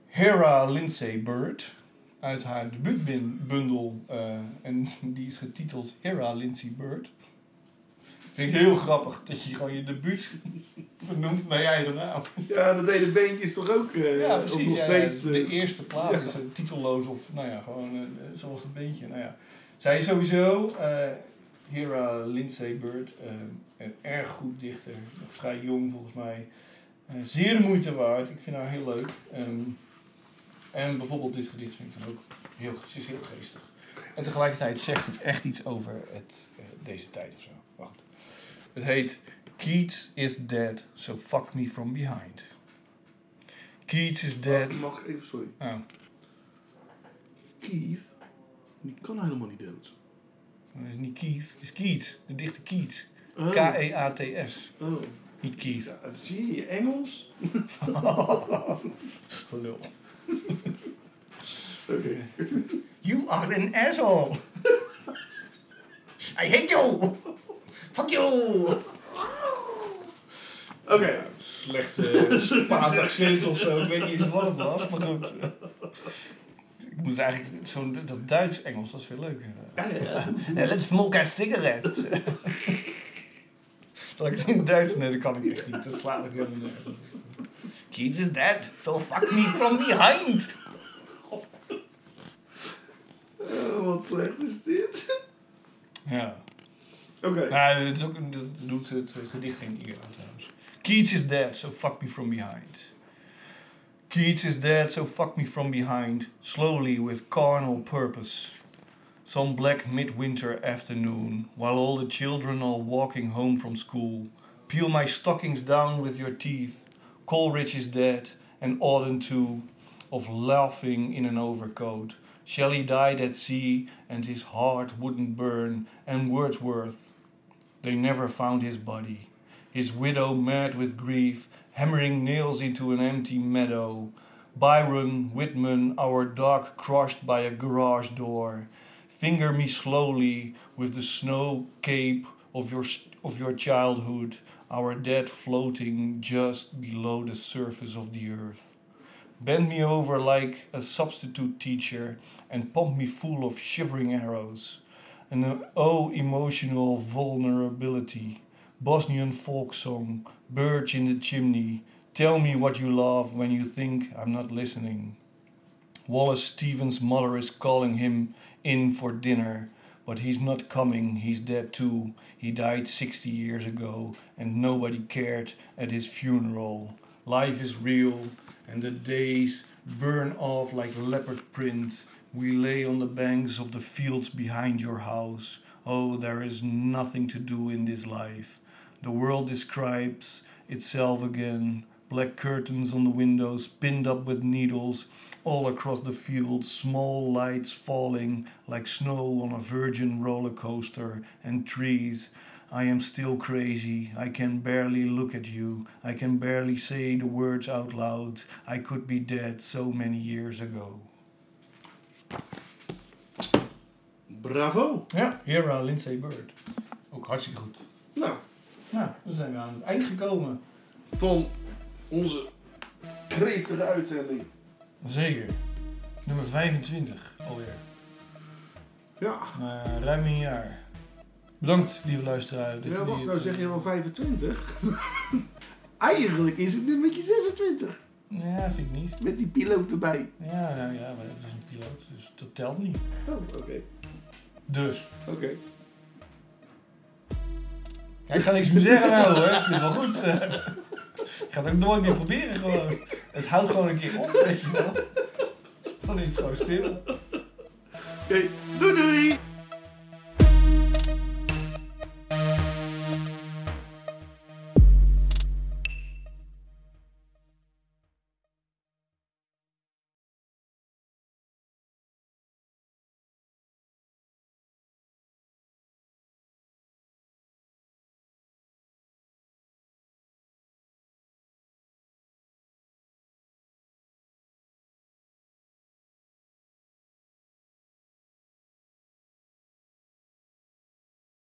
Hera Lindsay Bird uit haar debuutbundel eh, en die is getiteld Hera Lindsay Bird. Vind ik heel grappig dat je gewoon je debuut vernoemt naar je eigen naam.
Ja, dat deden beentjes toch ook eh,
Ja,
ook
precies.
nog
ja,
steeds.
de
eh,
eerste plaat is een titelloos of nou ja, gewoon eh, zoals een beetje. Nou ja. Zij is sowieso, eh Hera Lindsay Bird, eh, een erg goed dichter. nog Vrij jong volgens mij. Eh, zeer de moeite waard. Ik vind haar heel leuk. Ehm, en bijvoorbeeld dit gedicht vind ik dan ook heel, ze is heel geestig. En tegelijkertijd zegt het echt iets over het, eh, deze tijd of zo. Wacht. Het heet Keats is dead, so fuck me from behind. Keats is dead.
eh. Mag ik even, sorry.
Oh,
Keith, die kan helemaal niet dood.
dat is niet Keith, het is Keats. De dichter Keats. E
Oh.
K-E-A-T-S.
oh.
Niet Keith.
Ja, dat Ah, zie je, je Engels?
Gelul.
Oké.
You are an asshole. I hate you. Fuck you.
Oké.
slechte Spaans accent of zo. Ik weet niet eens wat het was, maar goed. Ik moet eigenlijk zo'n dat Duits-Engels, dat is veel leuker. Ja, let's smoke a cigarette. Zal ik het in het Duits? Nee, dat kan ik echt niet. Dat slaat ik helemaal nergens. op. Kids is dead, so fuck me from behind.
Oh, wat slecht is dit?
Ja.
Oké.
Nou, dat, is ook, dat doet het eh, gedicht geen eer aan trouwens. Keats is dead, so fuck me from behind. Keats is dead, so fuck me from behind, slowly with carnal purpose. Some black midwinter afternoon, while all the children are walking home from school, peel my stockings down with your teeth. Coleridge is dead, and Auden too, of laughing in an overcoat. Shelley died at sea, and his heart wouldn't burn, and Wordsworth. They never found his body. His widow, mad with grief, hammering nails into an empty meadow. Byron, Whitman, our dog crushed by a garage door. Finger me slowly with the snow cape of your, of your childhood, our dead floating just below the surface of the earth. Bend me over like a substitute teacher and pump me full of shivering arrows. And oh, emotional vulnerability. Bosnian folk song, Birch in the Chimney, Tell me what you love when you think I'm not listening. Wallace Stevens' mother is calling him in for dinner, but he's not coming. He's dead too. He died 60 years ago, and nobody cared at his funeral. Life is real, and the days burn off like leopard print. We lay on the banks of the fields behind your house. Oh, there is nothing to do in this life. The world describes itself again. Black curtains on the windows, pinned up with needles, all across the field, small lights falling like snow on a virgin roller coaster, and trees. I am still crazy. I can barely look at you. I can barely say the words out loud. I could be dead so many years ago.
Bravo.
Ja, Hera Lindsay Bird. Ook hartstikke goed.
Nou,
Nou, dan zijn we aan het eind gekomen.
van onze kreeftige uitzending.
Zeker. Nummer 25 alweer.
Ja,
Na ruim een jaar. Bedankt, lieve luisteraar. dat
ja
jullie
wacht,
het,
nou zeg je
eh,
wel 25. Eigenlijk is het nummertje 26.
Ja, vind ik niet.
Met die piloot erbij.
Ja, nou ja, maar het is een piloot, dus dat telt niet.
Oh, oké.
Dus.
Oké.
Ja, ik ga niks meer zeggen nou hoor, ik vind het wel goed. eh. ik ga het ook nooit meer proberen gewoon. Het houdt gewoon een keer op, weet je wel. Dan is het gewoon stil.
Oké.